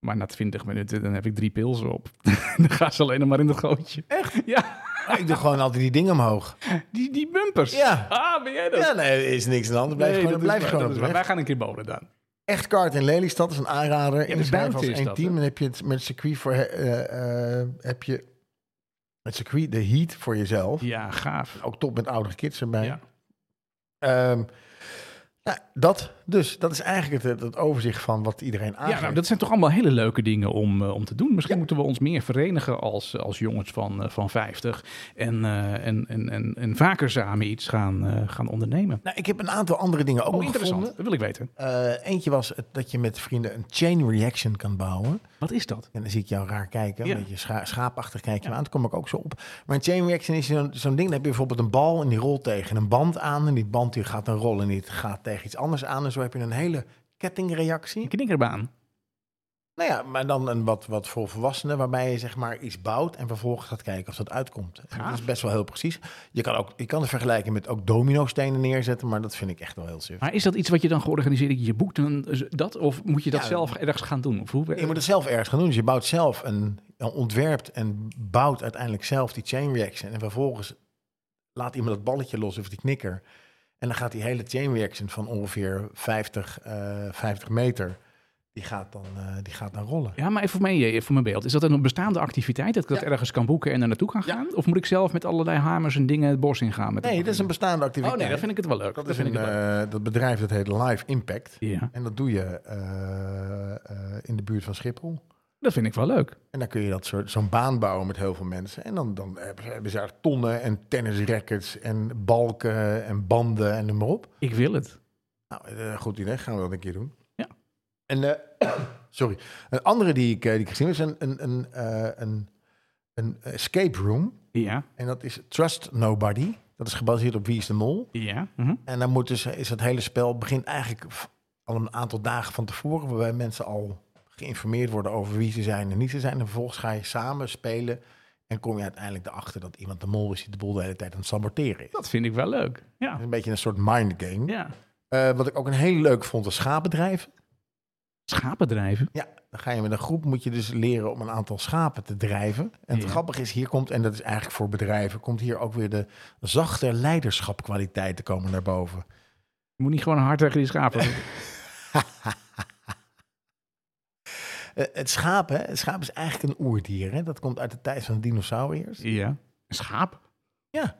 Speaker 1: Maar na 20 minuten dan heb ik drie pilsen op. dan gaan ze alleen nog maar in het gootje. Echt? Ja,
Speaker 2: Ah, Ik doe gewoon altijd die dingen omhoog.
Speaker 1: die, die bumpers.
Speaker 2: Ja.
Speaker 1: Ah, ben jij dat?
Speaker 2: Ja, nee, er is niks aan de hand. Blijf
Speaker 1: Nee,
Speaker 2: gewoon,
Speaker 1: dat
Speaker 2: blijf
Speaker 1: is waar,
Speaker 2: gewoon
Speaker 1: dat
Speaker 2: op
Speaker 1: is waar.
Speaker 2: de weg.
Speaker 1: Wij gaan een keer bowlen dan.
Speaker 2: Echt kaart in Lelystad is een aanrader. In de
Speaker 1: buiten
Speaker 2: als
Speaker 1: is
Speaker 2: één
Speaker 1: dat,
Speaker 2: team.
Speaker 1: hè?
Speaker 2: En heb je het met circuit voor... eh, eh, heb je met circuit de heat voor jezelf.
Speaker 1: Ja, gaaf.
Speaker 2: Ook top met oudere kids erbij.
Speaker 1: Ja.
Speaker 2: Ehm, nou, dat dus. Dat is eigenlijk het, het overzicht van wat iedereen aangeeft.
Speaker 1: Ja, nou, dat zijn toch allemaal hele leuke dingen om, eh, om te doen. Misschien moeten we ons meer verenigen als, eh, als jongens van, eh, van 50. En, eh, en, en, en, en vaker samen iets gaan, eh, gaan ondernemen.
Speaker 2: Nou, ik heb een aantal andere dingen ook
Speaker 1: Oh,
Speaker 2: nog
Speaker 1: interessant.
Speaker 2: gevonden.
Speaker 1: Dat wil ik weten.
Speaker 2: Eh, eentje was het, dat je met vrienden een chain reaction kan bouwen.
Speaker 1: Wat is dat?
Speaker 2: En dan zie ik jou raar kijken, een
Speaker 1: Ja.
Speaker 2: beetje scha- schaapachtig kijken. Maar aan, dat kom ik ook zo op. Maar een chain reaction is zo'n zo'n ding, dan heb je bijvoorbeeld een bal en die rolt tegen een band aan. En die band die gaat dan rollen en die gaat tegen iets anders aan. En zo heb je een hele kettingreactie.
Speaker 1: Een knikkerbaan.
Speaker 2: Nou ja, maar dan een wat, wat voor volwassenen, waarbij je zeg maar iets bouwt en vervolgens gaat kijken of dat uitkomt. En Dat
Speaker 1: Gaaf.
Speaker 2: is best wel heel precies. Je kan, ook, je kan het vergelijken met ook dominostenen neerzetten, maar dat vind ik echt wel heel suf.
Speaker 1: Maar is dat iets wat je dan georganiseerd hebt? Je boekt een, eh, dat? Of moet je dat
Speaker 2: Ja,
Speaker 1: zelf ergens gaan doen? Of hoe,
Speaker 2: Je moet het zelf ergens gaan doen. Dus je bouwt zelf een, een ontwerpt en bouwt uiteindelijk zelf die chain reaction. En vervolgens laat iemand dat balletje los of die knikker. En dan gaat die hele chain reaction van ongeveer 50, eh, 50 meter, die gaat dan, eh, die gaat dan rollen.
Speaker 1: Ja, maar even voor, mijn, even voor mijn beeld. Is dat een bestaande activiteit? Dat ik dat
Speaker 2: Ja.
Speaker 1: ergens kan boeken en er naartoe kan
Speaker 2: Ja.
Speaker 1: gaan? Of moet ik zelf met allerlei hamers en dingen het bos ingaan? Met
Speaker 2: Nee, dat is een bestaande activiteit.
Speaker 1: Oh nee, dat vind ik het wel leuk.
Speaker 2: dat,
Speaker 1: Dat,
Speaker 2: is
Speaker 1: vind
Speaker 2: een,
Speaker 1: ik het leuk.
Speaker 2: eh, dat bedrijf dat heet Live Impact.
Speaker 1: Ja,
Speaker 2: En dat doe je eh, eh, in de buurt van Schiphol.
Speaker 1: dat vind ik wel leuk.
Speaker 2: En dan kun je dat soort, zo'n baan bouwen met heel veel mensen. En dan, dan hebben ze- hebben ze daar tonnen en tennisrackets en balken en banden en noem maar op.
Speaker 1: Ik wil het.
Speaker 2: Nou, eh, goed idee. Gaan we dat een keer doen.
Speaker 1: Ja.
Speaker 2: En, eh, sorry. Een andere die ik, eh, die ik gezien heb, is een, een, een, eh, een, een escape room.
Speaker 1: Ja,
Speaker 2: En dat is Trust Nobody. Dat is gebaseerd op Wie is de Mol.
Speaker 1: ja. mhm.
Speaker 2: En dan moet dus, is het hele spel begint eigenlijk v- al een aantal dagen van tevoren, waarbij mensen al geïnformeerd worden over wie ze zijn en niet ze zijn. En vervolgens ga je samen spelen en kom je uiteindelijk erachter dat iemand de mol is die de boel de hele tijd aan het saboteren is. Dat
Speaker 1: Dat vind ik wel leuk. Ja.
Speaker 2: is een beetje een soort mindgame.
Speaker 1: ja.
Speaker 2: Eh, wat ik ook een heel leuk vond, was schaapbedrijven.
Speaker 1: Schapen drijven.
Speaker 2: Ja, dan ga je met een groep, moet je dus leren om een aantal schapen te drijven. En het
Speaker 1: Ja.
Speaker 2: grappige is, hier komt, en dat is eigenlijk voor bedrijven, komt hier ook weer de zachte leiderschapkwaliteiten komen naar boven.
Speaker 1: Je moet niet gewoon hard tegen die schapen. doen.
Speaker 2: Eh, het schaap, hè? Het schaap is eigenlijk een oerdier, hè? Dat komt uit de tijd van de dinosauriërs.
Speaker 1: ja. Een Schaap?
Speaker 2: Ja.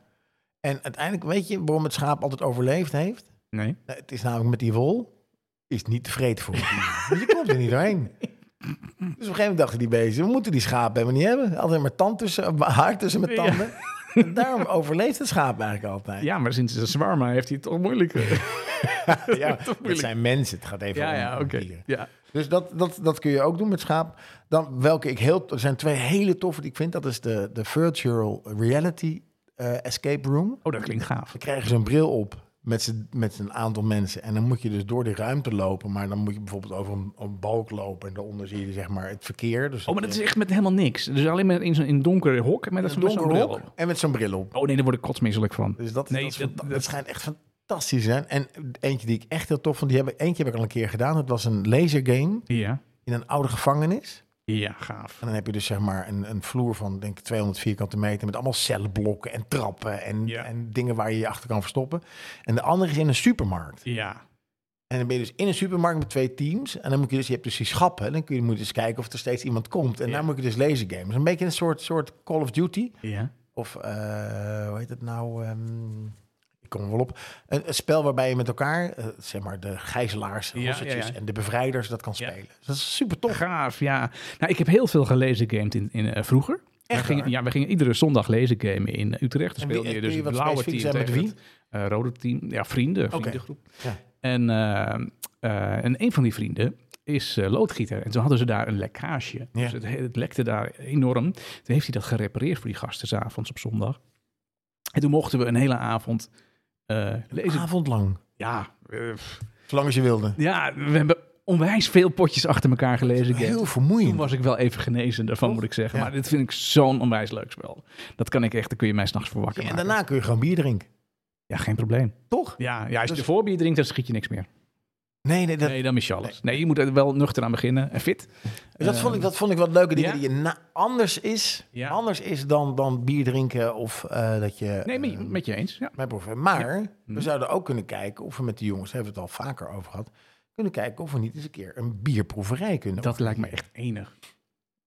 Speaker 2: En uiteindelijk, weet je waarom het schaap altijd overleefd heeft?
Speaker 1: Nee.
Speaker 2: Nou, het is namelijk met die wol, is niet tevreden voor. Want je komt er niet doorheen. Dus op een gegeven moment dachten die beesten, we moeten die schapen helemaal niet hebben. Altijd maar tand tussen, haar tussen met
Speaker 1: Ja.
Speaker 2: tanden. En daarom overleeft het schaap eigenlijk altijd.
Speaker 1: Ja, maar sinds de zwarma heeft hij het toch moeilijker.
Speaker 2: Ja,
Speaker 1: toch
Speaker 2: het
Speaker 1: moeilijk.
Speaker 2: zijn mensen, het gaat even
Speaker 1: Ja,
Speaker 2: om,
Speaker 1: ja,
Speaker 2: om
Speaker 1: oké.
Speaker 2: dieren.
Speaker 1: Ja.
Speaker 2: Dus dat, dat, dat kun je ook doen met schaap. Dan welke ik heel. Er zijn twee hele toffe die ik vind. Dat is de, de Virtual Reality eh, Escape Room.
Speaker 1: Oh, dat klinkt gaaf.
Speaker 2: Dan krijgen ze een bril op met, z'n- met een aantal mensen. En dan moet je dus door de ruimte lopen. Maar dan moet je bijvoorbeeld over een, een balk lopen. En daaronder zie je zeg maar het verkeer. Dus
Speaker 1: Oh, maar dat is echt met helemaal niks. Dus alleen maar in zo'n in een donker hok met
Speaker 2: een
Speaker 1: zo'n
Speaker 2: donker
Speaker 1: zo'n bril
Speaker 2: hok
Speaker 1: op.
Speaker 2: en met zo'n bril op.
Speaker 1: Oh nee, daar word ik kotsmisselijk van.
Speaker 2: Dus dat,
Speaker 1: Nee,
Speaker 2: dat, is
Speaker 1: dat-
Speaker 2: fanta-
Speaker 1: dat-
Speaker 2: dat schijnt echt fantastisch te zijn. En eentje die ik echt heel tof vond. Die heb ik, eentje heb ik al een keer gedaan. Dat was een lasergame
Speaker 1: Ja.
Speaker 2: in een oude gevangenis.
Speaker 1: Ja, gaaf.
Speaker 2: En dan heb je dus zeg maar een, een vloer van denk ik 200 vierkante meter met allemaal cellenblokken en trappen en,
Speaker 1: Ja.
Speaker 2: en dingen waar je je achter kan verstoppen. En de andere is in een supermarkt.
Speaker 1: Ja.
Speaker 2: En dan ben je dus in een supermarkt met twee teams. En dan moet je dus, je hebt dus die schappen. En dan kun je, moet je dus kijken of er steeds iemand komt. En
Speaker 1: Ja.
Speaker 2: daar moet je dus laser games. Een beetje een soort, soort Call of Duty.
Speaker 1: Ja.
Speaker 2: Of eh, hoe heet het nou? ehm, ik kom er wel op. Een, een spel waarbij je met elkaar, eh, zeg maar, de gijzelaars,
Speaker 1: Ja, ja,
Speaker 2: hossetjes
Speaker 1: ja.
Speaker 2: en de bevrijders dat kan
Speaker 1: Ja.
Speaker 2: spelen. Dus dat is super tof.
Speaker 1: Gaaf, ja. Nou, ik heb heel veel gelezen games in, in, eh, vroeger.
Speaker 2: Echt
Speaker 1: we gingen,
Speaker 2: waar?
Speaker 1: ja, we gingen iedere zondag lezen gamen in eh, Utrecht. Dan
Speaker 2: En wie-
Speaker 1: speelde je
Speaker 2: kun
Speaker 1: dus
Speaker 2: je
Speaker 1: het
Speaker 2: wat
Speaker 1: blauwe team
Speaker 2: specifiek
Speaker 1: tegen
Speaker 2: zijn met
Speaker 1: het eh, rode team. Ja, vrienden, vriendengroep.
Speaker 2: Ja.
Speaker 1: En, eh, eh, en een van die vrienden is eh, loodgieter. En toen hadden ze daar een lekkage. Dus het, het lekte daar enorm. Toen heeft hij dat gerepareerd voor die gasten 's avonds op zondag. En toen mochten we een hele avond eh,
Speaker 2: Ah.
Speaker 1: lezen.
Speaker 2: Avondlang.
Speaker 1: Ja, eh,
Speaker 2: Zolang als je wilde.
Speaker 1: ja, we hebben onwijs veel potjes achter elkaar gelezen. Gert.
Speaker 2: Heel
Speaker 1: Toen
Speaker 2: vermoeiend.
Speaker 1: was ik wel even genezen daarvan, moet ik zeggen.
Speaker 2: Ja.
Speaker 1: Maar dit vind ik zo'n onwijs leuk spel. Dat kan ik echt, daar kun je mij s'nachts voor wakker
Speaker 2: Ja, en
Speaker 1: maken.
Speaker 2: daarna kun je gewoon bier drinken.
Speaker 1: Ja, geen probleem.
Speaker 2: Toch?
Speaker 1: Ja, ja als je
Speaker 2: Dus-
Speaker 1: de voorbier drinkt, dan schiet je niks meer.
Speaker 2: Nee, nee, dat,
Speaker 1: Nee, dan mis je alles. Nee, je moet er wel nuchter aan beginnen en fit.
Speaker 2: dat, vond, ik, dat vond ik wat leuke dingen
Speaker 1: eh, ja?
Speaker 2: die je na- anders is.
Speaker 1: Ja.
Speaker 2: Anders is dan, dan bier drinken of eh, dat je...
Speaker 1: Nee,
Speaker 2: eh,
Speaker 1: met, met je eens. Ja. Hm?
Speaker 2: Mijn proef. Maar we zouden ook kunnen kijken of we met de jongens, daar hebben we het al vaker over gehad, kunnen kijken of we niet eens een keer een bierproeverij kunnen.
Speaker 1: Dat lijkt me echt enig.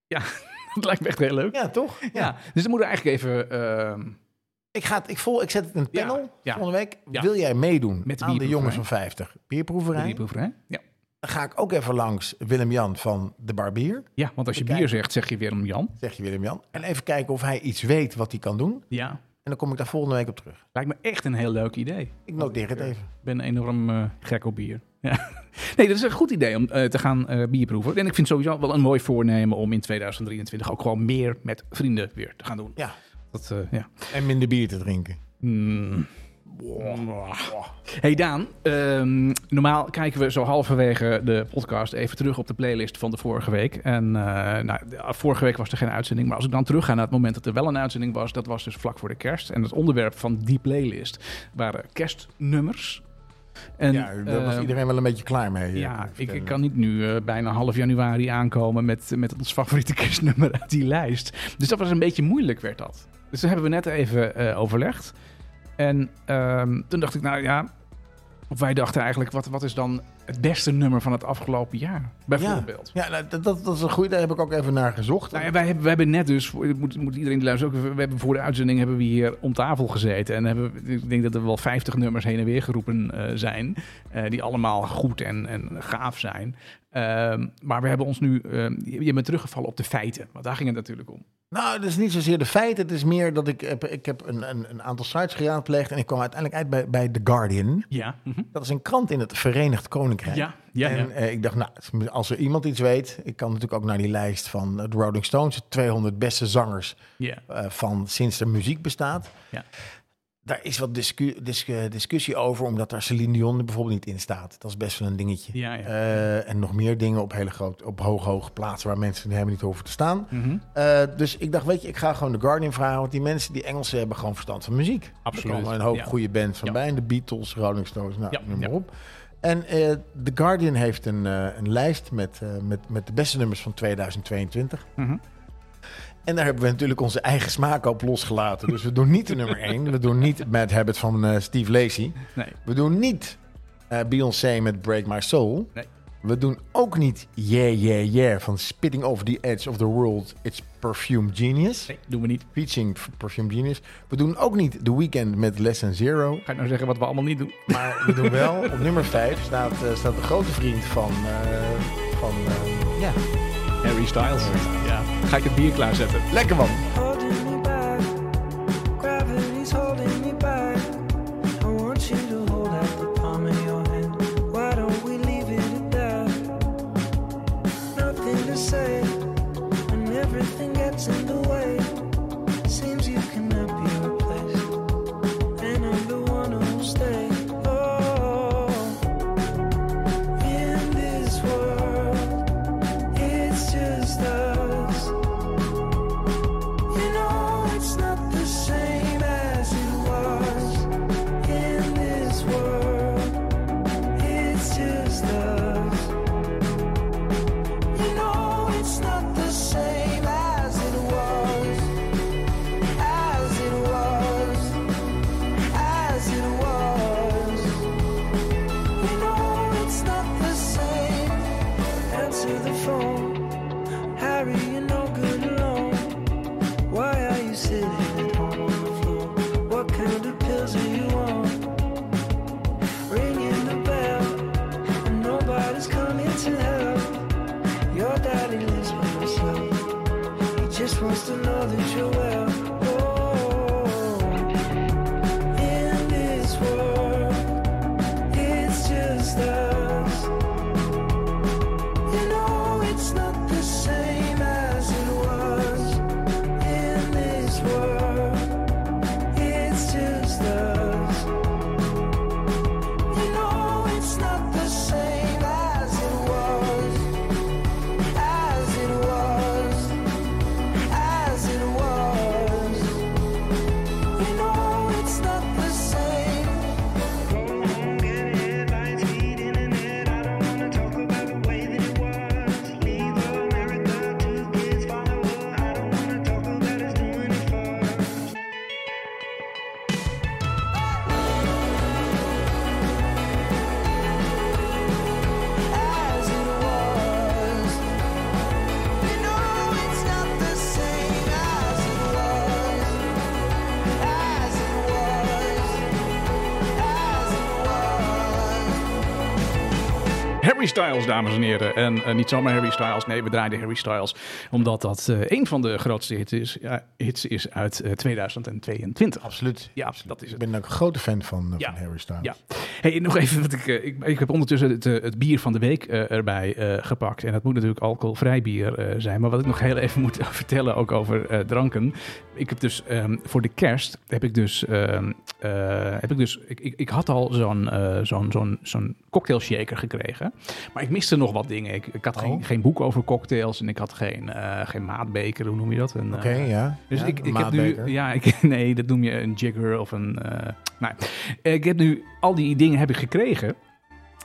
Speaker 1: Ja, dat lijkt me echt heel leuk. Ja,
Speaker 2: Ja, toch? Ja.
Speaker 1: dus dan moeten we eigenlijk even... ehm,
Speaker 2: Ik, ga het, ik, vol, ik zet het in een
Speaker 1: Ja,
Speaker 2: panel
Speaker 1: ja.
Speaker 2: volgende week.
Speaker 1: Ja.
Speaker 2: Wil jij meedoen
Speaker 1: Met de
Speaker 2: aan de
Speaker 1: bierproeverij.
Speaker 2: jongens van 50? Bierproeverij.
Speaker 1: die proeven, hè? Ja.
Speaker 2: Dan ga ik ook even langs Willem-Jan van de Barbier.
Speaker 1: ja, want als je
Speaker 2: Even
Speaker 1: bier zegt, zeg je weer om Jan.
Speaker 2: Zeg je Willem-Jan. En even kijken of hij iets weet wat hij kan doen.
Speaker 1: Ja,
Speaker 2: En dan kom ik daar volgende week op terug.
Speaker 1: lijkt me echt een heel leuk idee.
Speaker 2: Ik noteer het even.
Speaker 1: Ik ben enorm eh, gek op bier. Ja. Nee, dat is een goed idee om eh, te gaan eh, bier proeven. En ik vind sowieso wel een mooi voornemen om in 2023 ook gewoon meer met vrienden weer te gaan doen.
Speaker 2: Ja.
Speaker 1: Dat, eh, ja.
Speaker 2: En minder bier te drinken.
Speaker 1: Mm. Hey Daan, ehm, normaal kijken we zo halverwege de podcast even terug op de playlist van de vorige week. En eh, nou, de- vorige week was er geen uitzending, maar als ik dan terugga naar het moment dat er wel een uitzending was, dat was dus vlak voor de kerst. En het onderwerp van die playlist waren kerstnummers. En,
Speaker 2: ja, daar was
Speaker 1: ehm,
Speaker 2: iedereen wel een beetje klaar mee. eh,
Speaker 1: ja, ik,
Speaker 2: vertellen.
Speaker 1: ik kan niet nu eh, bijna half januari aankomen met, met ons favoriete kerstnummer uit die lijst. Dus dat was een beetje moeilijk, werd dat. Dus daar hebben we net even eh, overlegd. En ehm, toen dacht ik, nou ja, of wij dachten eigenlijk, wat, wat is dan het beste nummer van het afgelopen jaar? Bijvoorbeeld.
Speaker 2: Ja, nou, dat, dat, dat is een goede. Daar heb ik ook even naar gezocht.
Speaker 1: Nou ja, wij, hebben, wij hebben net dus, voor- moet, moet iedereen die luistert ook, even- we hebben voor de uitzending hebben we hier om tafel gezeten. En hebben, we- ik denk dat er wel 50 nummers heen en weer geroepen eh, zijn, eh, die allemaal goed en, en gaaf zijn. Ehm, maar we hebben ons nu, ehm, je, je bent teruggevallen op de feiten, want daar ging het natuurlijk om.
Speaker 2: Nou, dat is niet zozeer de feiten. Het is meer dat ik heb, ik heb een, een, een aantal sites geraadpleegd. En ik kwam uiteindelijk uit bij, bij The Guardian.
Speaker 1: Ja, Mhm.
Speaker 2: Dat is een krant in het Verenigd Koninkrijk.
Speaker 1: ja, ja.
Speaker 2: en
Speaker 1: ja.
Speaker 2: eh, ik dacht, nou, als er iemand iets weet. Ik kan natuurlijk ook naar die lijst van eh, de Rolling Stones. de 200 beste zangers
Speaker 1: ja.
Speaker 2: eh, van sinds er muziek bestaat.
Speaker 1: Ja.
Speaker 2: Daar is wat discu- discu- discussie over, omdat daar Celine Dion er bijvoorbeeld niet in staat. Dat is best wel een dingetje.
Speaker 1: Ja, ja.
Speaker 2: Eh, en nog meer dingen op hele groot, op hoog, hoge plaatsen waar mensen helemaal niet over te staan.
Speaker 1: Mhm.
Speaker 2: Eh, dus ik dacht, weet je, ik ga gewoon The Guardian vragen. Want die mensen, die Engelsen, hebben gewoon verstand van muziek.
Speaker 1: Absoluut,
Speaker 2: Er komen een hoop
Speaker 1: ja.
Speaker 2: goede bands van
Speaker 1: Ja.
Speaker 2: bij. De Beatles, Rolling Stones, nou,
Speaker 1: Ja,
Speaker 2: noem maar
Speaker 1: ja.
Speaker 2: op. En eh, The Guardian heeft een, eh, een lijst met, eh, met, met de beste nummers van 2022.
Speaker 1: Mhm.
Speaker 2: En daar hebben we natuurlijk onze eigen smaak op losgelaten. Dus we doen niet de nummer 1. We doen niet Mad Habit van eh, Steve Lacey.
Speaker 1: Nee.
Speaker 2: We doen niet eh, Beyoncé met Break My Soul.
Speaker 1: Nee.
Speaker 2: We doen ook niet Yeah Yeah Yeah van Spitting Over the Edge of the World. It's Perfume Genius.
Speaker 1: Nee, doen we niet.
Speaker 2: Preaching Perfume Genius. We doen ook niet The Weeknd met Lesson Zero.
Speaker 1: Ga ik nou zeggen wat we allemaal niet doen?
Speaker 2: Maar we doen wel, op nummer 5 staat, eh, staat de grote vriend van... eh, van eh, ja,
Speaker 1: Harry Styles. Ja. Ga ik het bier klaarzetten?
Speaker 2: lekker man.
Speaker 3: holding me back. Gravity's holding me back. I want you to hold out the palm of your hand. Why don't we leave it at that? Nothing to say, and everything gets in the way. Seems you cannot be replaced, and I'm the one who'll stay. Oh, in this world, it's just us. In Oh,
Speaker 1: Harry Styles, dames en heren. En eh, niet zomaar Harry Styles. Nee, we draaiden Harry Styles. Omdat dat eh, een van de grootste hits is, ja, hits is uit eh, 2022.
Speaker 2: Absoluut.
Speaker 1: Ja, dat is
Speaker 2: Ik
Speaker 1: het.
Speaker 2: ben ook een grote fan van, eh,
Speaker 1: Ja.
Speaker 2: van Harry Styles.
Speaker 1: Ja. Hey, nog even, wat ik, eh, ik, ik heb ondertussen het, eh, het bier van de week eh, erbij eh, gepakt. En dat moet natuurlijk alcoholvrij bier eh, zijn. Maar wat ik nog heel even moet vertellen, ook over eh, dranken. Ik heb dus ehm, voor de kerst, heb ik dus, ehm, eh, heb ik, dus ik, ik, ik had al zo'n eh zo'n zo'n zo'n cocktail shaker gekregen. Maar ik miste nog wat dingen. Ik, ik had geen,
Speaker 2: Oh.
Speaker 1: geen boek over cocktails en ik had geen, eh, geen maatbeker, hoe noem je dat? Een, eh,
Speaker 2: Oké, ja.
Speaker 1: dus
Speaker 2: Ja,
Speaker 1: ik, ik heb nu,
Speaker 2: maatbeker.
Speaker 1: ja, ik, nee, dat noem je een jigger of een. eh, nou, ik heb nu al die dingen heb ik gekregen.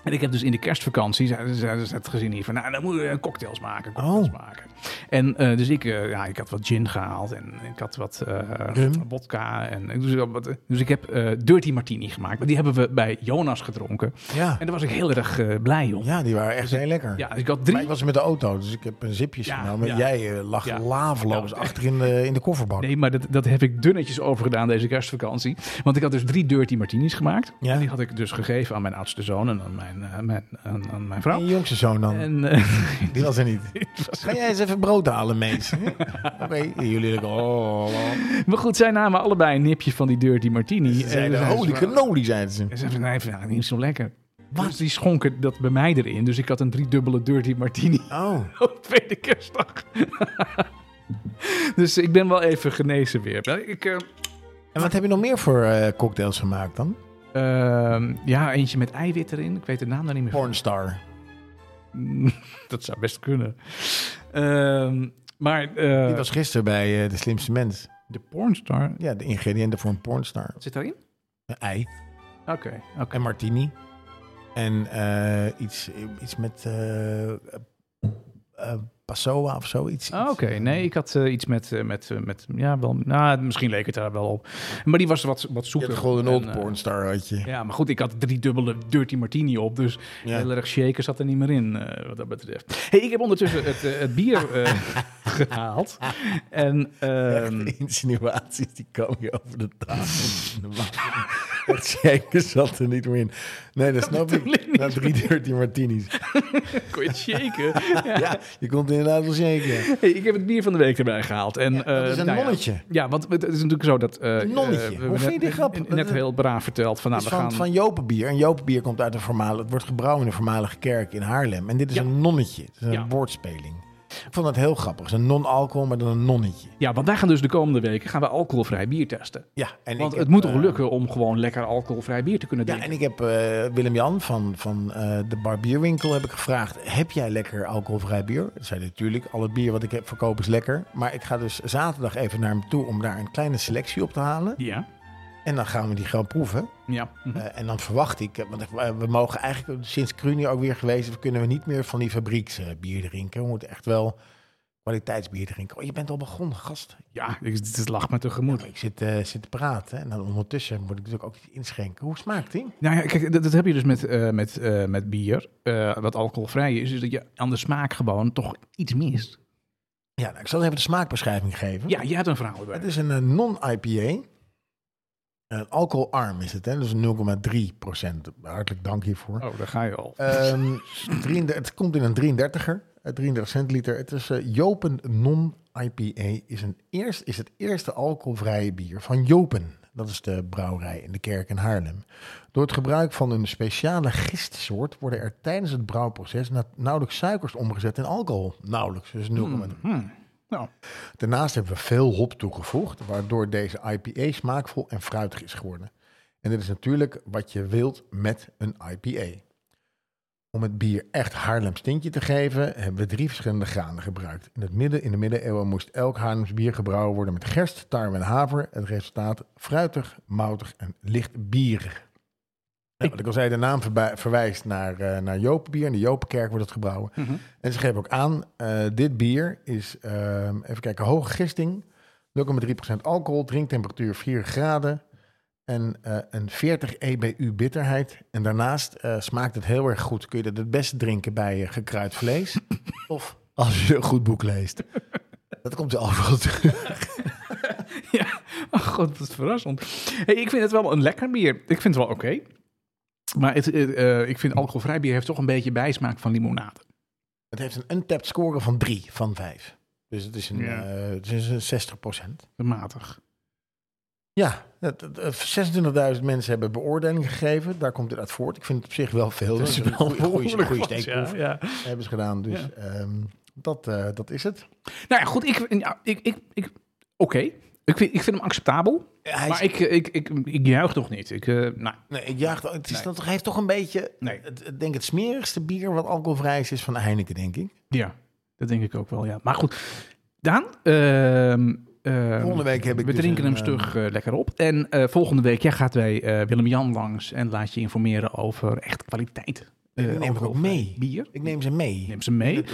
Speaker 1: En ik heb dus in de kerstvakantie, zei, zei, zei het gezin hier van, nou, dan moeten we cocktails maken, cocktails
Speaker 2: Oh.
Speaker 1: maken. En eh, dus ik, eh, ja, ik had wat gin gehaald en ik had wat eh,
Speaker 2: Rum.
Speaker 1: vodka. En, ik- dus, wat- dus ik heb eh, Dirty Martini gemaakt, maar die hebben we bij Jonas gedronken.
Speaker 2: Ja.
Speaker 1: En daar was ik heel erg eh, blij om. Ja.
Speaker 2: ja, die waren echt heel lekker.
Speaker 1: dus ik had
Speaker 2: Maar
Speaker 1: drie
Speaker 2: ik was met de auto, dus ik heb een zipjes
Speaker 1: Ja,
Speaker 2: genomen.
Speaker 1: ja.
Speaker 2: Jij eh, lag
Speaker 1: Ja.
Speaker 2: laveloos
Speaker 1: Ja.
Speaker 2: achter in de, in de kofferbak.
Speaker 1: Nee, maar dat, dat heb ik dunnetjes overgedaan deze kerstvakantie. Want ik had dus drie dirty martinis gemaakt.
Speaker 2: Ja.
Speaker 1: En die had ik dus gegeven aan mijn oudste zoon en aan mijn, eh, mijn, aan, aan mijn vrouw.
Speaker 2: En je jongste zoon dan,
Speaker 1: En eh,
Speaker 2: die was er niet. Ga jij eens even brood halen, mees? Oké, jullie denken, oh.
Speaker 1: maar goed, zij namen allebei een nipje van die dirty martini.
Speaker 2: Ze zeiden,
Speaker 1: En
Speaker 2: holy
Speaker 1: ze-
Speaker 2: cannoli, zeiden ze.
Speaker 1: En ze zeiden, nee, van, nou, niet zo lekker. Dus die schonken dat bij mij erin. Dus ik had een driedubbele dirty martini
Speaker 2: Oh,
Speaker 1: op tweede kerstdag. dus ik ben wel even genezen weer. Maar Ik, eh,
Speaker 2: en wat heb je nog meer voor eh, cocktails gemaakt dan?
Speaker 1: ehm, ja, eentje met eiwit erin. Ik weet de naam daar niet meer van.
Speaker 2: Pornstar.
Speaker 1: dat zou best kunnen. Ehm, maar eh,
Speaker 2: Die was gisteren bij eh, De Slimste Mens.
Speaker 1: de pornstar,
Speaker 2: Ja, de ingrediënten voor een pornstar.
Speaker 1: wat zit daarin?
Speaker 2: Een ei
Speaker 1: Oké, oké.
Speaker 2: en martini. En eh, iets, iets met eh eh, eh, passoa of zo. Iets,
Speaker 1: Ah,
Speaker 2: iets.
Speaker 1: Oké, nee, ik had eh, iets met, eh, met, eh, met, ja, wel, nou, misschien leek het daar wel op. Maar die was wat, wat
Speaker 2: Je
Speaker 1: zoeter.
Speaker 2: hebt gewoon een
Speaker 1: En,
Speaker 2: old
Speaker 1: eh,
Speaker 2: pornstar had je.
Speaker 1: ja, maar goed, ik had drie dubbele dirty martini op, dus
Speaker 2: Ja.
Speaker 1: heel erg shaker zat er niet meer in, eh, wat dat betreft. Hey, ik heb ondertussen het, eh, het bier eh, gehaald. En, ehm,
Speaker 2: Echt insinuaties die komen je over de tafel. Het zeker zat er niet meer in. Nee, dat snap
Speaker 1: bedoel ik
Speaker 2: ik.
Speaker 1: niet.
Speaker 2: Na drie dirty martinis.
Speaker 1: kon je het shaken?
Speaker 2: Ja, je komt inderdaad wel zeker.
Speaker 1: Hey, ik heb het bier van de week erbij gehaald. En,
Speaker 2: dat
Speaker 1: eh,
Speaker 2: is een
Speaker 1: nou ja.
Speaker 2: nonnetje.
Speaker 1: Ja, want het is natuurlijk zo dat... eh,
Speaker 2: Een nonnetje.
Speaker 1: eh, we
Speaker 2: Hoe
Speaker 1: hebben
Speaker 2: vind je die
Speaker 1: net-
Speaker 2: grap?
Speaker 1: Net, net heel braaf verteld van, nou,
Speaker 2: Het
Speaker 1: we
Speaker 2: is van,
Speaker 1: gaan...
Speaker 2: van Jopenbier. En Jopenbier komt uit een voormalig... Het wordt gebrouwen in een voormalige kerk in Haarlem. En dit is
Speaker 1: Ja.
Speaker 2: een nonnetje. Het is een
Speaker 1: Ja.
Speaker 2: woordspeling. Ik vond dat heel grappig. Het is een non-alcohol, maar dan een nonnetje.
Speaker 1: Ja, want wij gaan dus de komende weken gaan we alcoholvrij bier testen.
Speaker 2: Ja, en
Speaker 1: Want
Speaker 2: ik
Speaker 1: het
Speaker 2: heb,
Speaker 1: moet toch
Speaker 2: eh,
Speaker 1: lukken om gewoon lekker alcoholvrij bier te kunnen
Speaker 2: Ja,
Speaker 1: drinken.
Speaker 2: en ik heb eh, Willem-Jan van, van eh, de barbierwinkel heb ik gevraagd... heb jij lekker alcoholvrij bier? Hij zei natuurlijk, al het bier wat ik heb verkoop is lekker. Maar ik ga dus zaterdag even naar hem toe om daar een kleine selectie op te halen.
Speaker 1: ja.
Speaker 2: En dan gaan we die gewoon proeven.
Speaker 1: ja. Mhm.
Speaker 2: Eh, en dan verwacht ik, eh, want eh, we mogen eigenlijk sinds Krunie ook weer geweest... is, kunnen we niet meer van die fabrieksbier bier drinken. We moeten echt wel kwaliteitsbier drinken. Oh, je bent al begonnen, gast.
Speaker 1: ja, ik- het het lag me tegemoet.
Speaker 2: Ik zit, eh, zit te praten en dan ondertussen moet ik natuurlijk ook iets inschenken. Hoe smaakt die?
Speaker 1: Nou ja, kijk, dat, dat heb je dus met, eh, met, eh, met bier, eh, wat alcoholvrij is, is dat je aan de smaak gewoon toch iets mist.
Speaker 2: Ja, nou, ik zal even de smaakbeschrijving geven.
Speaker 1: Ja, je hebt een verhaal erbij.
Speaker 2: Hm? Het is een eh, non-IPA. Een Eh, alcoholarm is het, hè? Dus 0,3 procent. Hartelijk dank hiervoor.
Speaker 1: Oh, daar ga je al.
Speaker 2: Ehm, 33 het komt in een 33er, eh, 33 centiliter. Het is eh, Jopen Non-IPA. Is, een eerst, is het eerste alcoholvrije bier van Jopen. Dat is de brouwerij in de kerk in Haarlem. Door het gebruik van een speciale gistsoort worden er tijdens het brouwproces na- nauwelijks suikers omgezet in alcohol. Nauwelijks, dus 0,3.
Speaker 1: Hmm. Nou,
Speaker 2: Daarnaast hebben we veel hop toegevoegd, waardoor deze IPA smaakvol en fruitig is geworden. En dit is natuurlijk wat je wilt met een IPA. Om het bier echt Haarlems tintje te geven, hebben we drie verschillende granen gebruikt. In, het midden, in de middeleeuwen moest elk Haarlems bier gebrouwen worden met gerst, tarwe en haver. Het resultaat fruitig, moutig en licht bierig. Nou, wat ik al zei, de naam verbij- verwijst naar, eh naar Jopenbier. In de Jopenkerk wordt het gebrouwen. En ze geven ook aan, eh, dit bier is, ehm, even kijken, hoge gisting, 0,3% alcohol, drinktemperatuur 4 graden en eh, een 40 EBU bitterheid. En daarnaast eh, smaakt het heel erg goed. Kun je dat het beste drinken bij eh, gekruid vlees of als je een goed boek leest. Dat komt er overal terug.
Speaker 1: Ja, oh god, wat verrassend. Hey, ik vind het wel een lekker bier. Ik vind het wel oké. Maar het, eh, eh, ik vind alcoholvrij bier heeft toch een beetje bijsmaak van limonade.
Speaker 2: Het heeft een untapped score van 3 van 5. Dus het is een,
Speaker 1: Ja.
Speaker 2: eh, het is een 60 procent.
Speaker 1: Matig.
Speaker 2: Ja, dat- dat- eh, 26.000 mensen hebben beoordeling gegeven. Daar komt het uit voort. Ik vind het op zich wel veel.
Speaker 1: Dat is wel
Speaker 2: een goede, goede,
Speaker 1: behoorlijk
Speaker 2: goede
Speaker 1: wat,
Speaker 2: steekproef
Speaker 1: ja, ja.
Speaker 2: hebben ze gedaan. Dus
Speaker 1: Ja.
Speaker 2: ehm, dat, eh, dat is het.
Speaker 1: Nou ja, goed. Ik, ja, ik, ik, ik, Oké. Ik, vind, ik vind hem acceptabel.
Speaker 2: Hij
Speaker 1: Maar ik, eh, ik, ik, ik juich toch niet. Ik, eh, nou,
Speaker 2: Nee, ik jaag, het is
Speaker 1: Nee.
Speaker 2: dat, hij heeft toch een beetje...
Speaker 1: Nee.
Speaker 2: Het, ik denk het smerigste bier wat alcoholvrij is, is van Heineken, denk ik.
Speaker 1: ja, dat denk ik ook wel, ja. Maar goed, Daan, ehm, ehm,
Speaker 2: Volgende week heb ik
Speaker 1: we
Speaker 2: dus
Speaker 1: drinken
Speaker 2: een,
Speaker 1: hem stug eh, lekker op. En eh, volgende week ja, gaat wij eh, Willem-Jan langs en laat je informeren over echt kwaliteit. eh,
Speaker 2: ik neem hem ook
Speaker 1: alcoholvrij
Speaker 2: mee.
Speaker 1: Bier.
Speaker 2: Ik neem ze mee.
Speaker 1: Neem ze mee.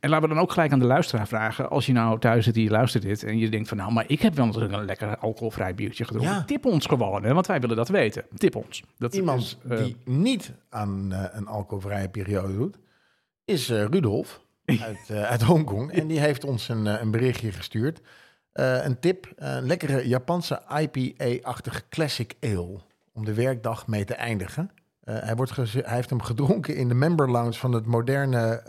Speaker 1: En laten we dan ook gelijk aan de luisteraar vragen. Als je nou thuis zit en je luistert dit en je denkt van nou, maar ik heb wel natuurlijk een lekker alcoholvrij biertje gedronken.
Speaker 2: Ja.
Speaker 1: Tip ons gewoon, hè, want wij willen dat weten. Tip ons. Dat
Speaker 2: Iemand
Speaker 1: is, eh,
Speaker 2: die niet aan eh, een alcoholvrije periode doet, is eh, Rudolf uit, eh, uit Hongkong. En die heeft ons een, eh, een berichtje gestuurd. Eh, een tip, een lekkere Japanse IPA-achtige classic ale om de werkdag mee te eindigen. Eh, hij, wordt geze- hij heeft hem gedronken in de member lounge van het moderne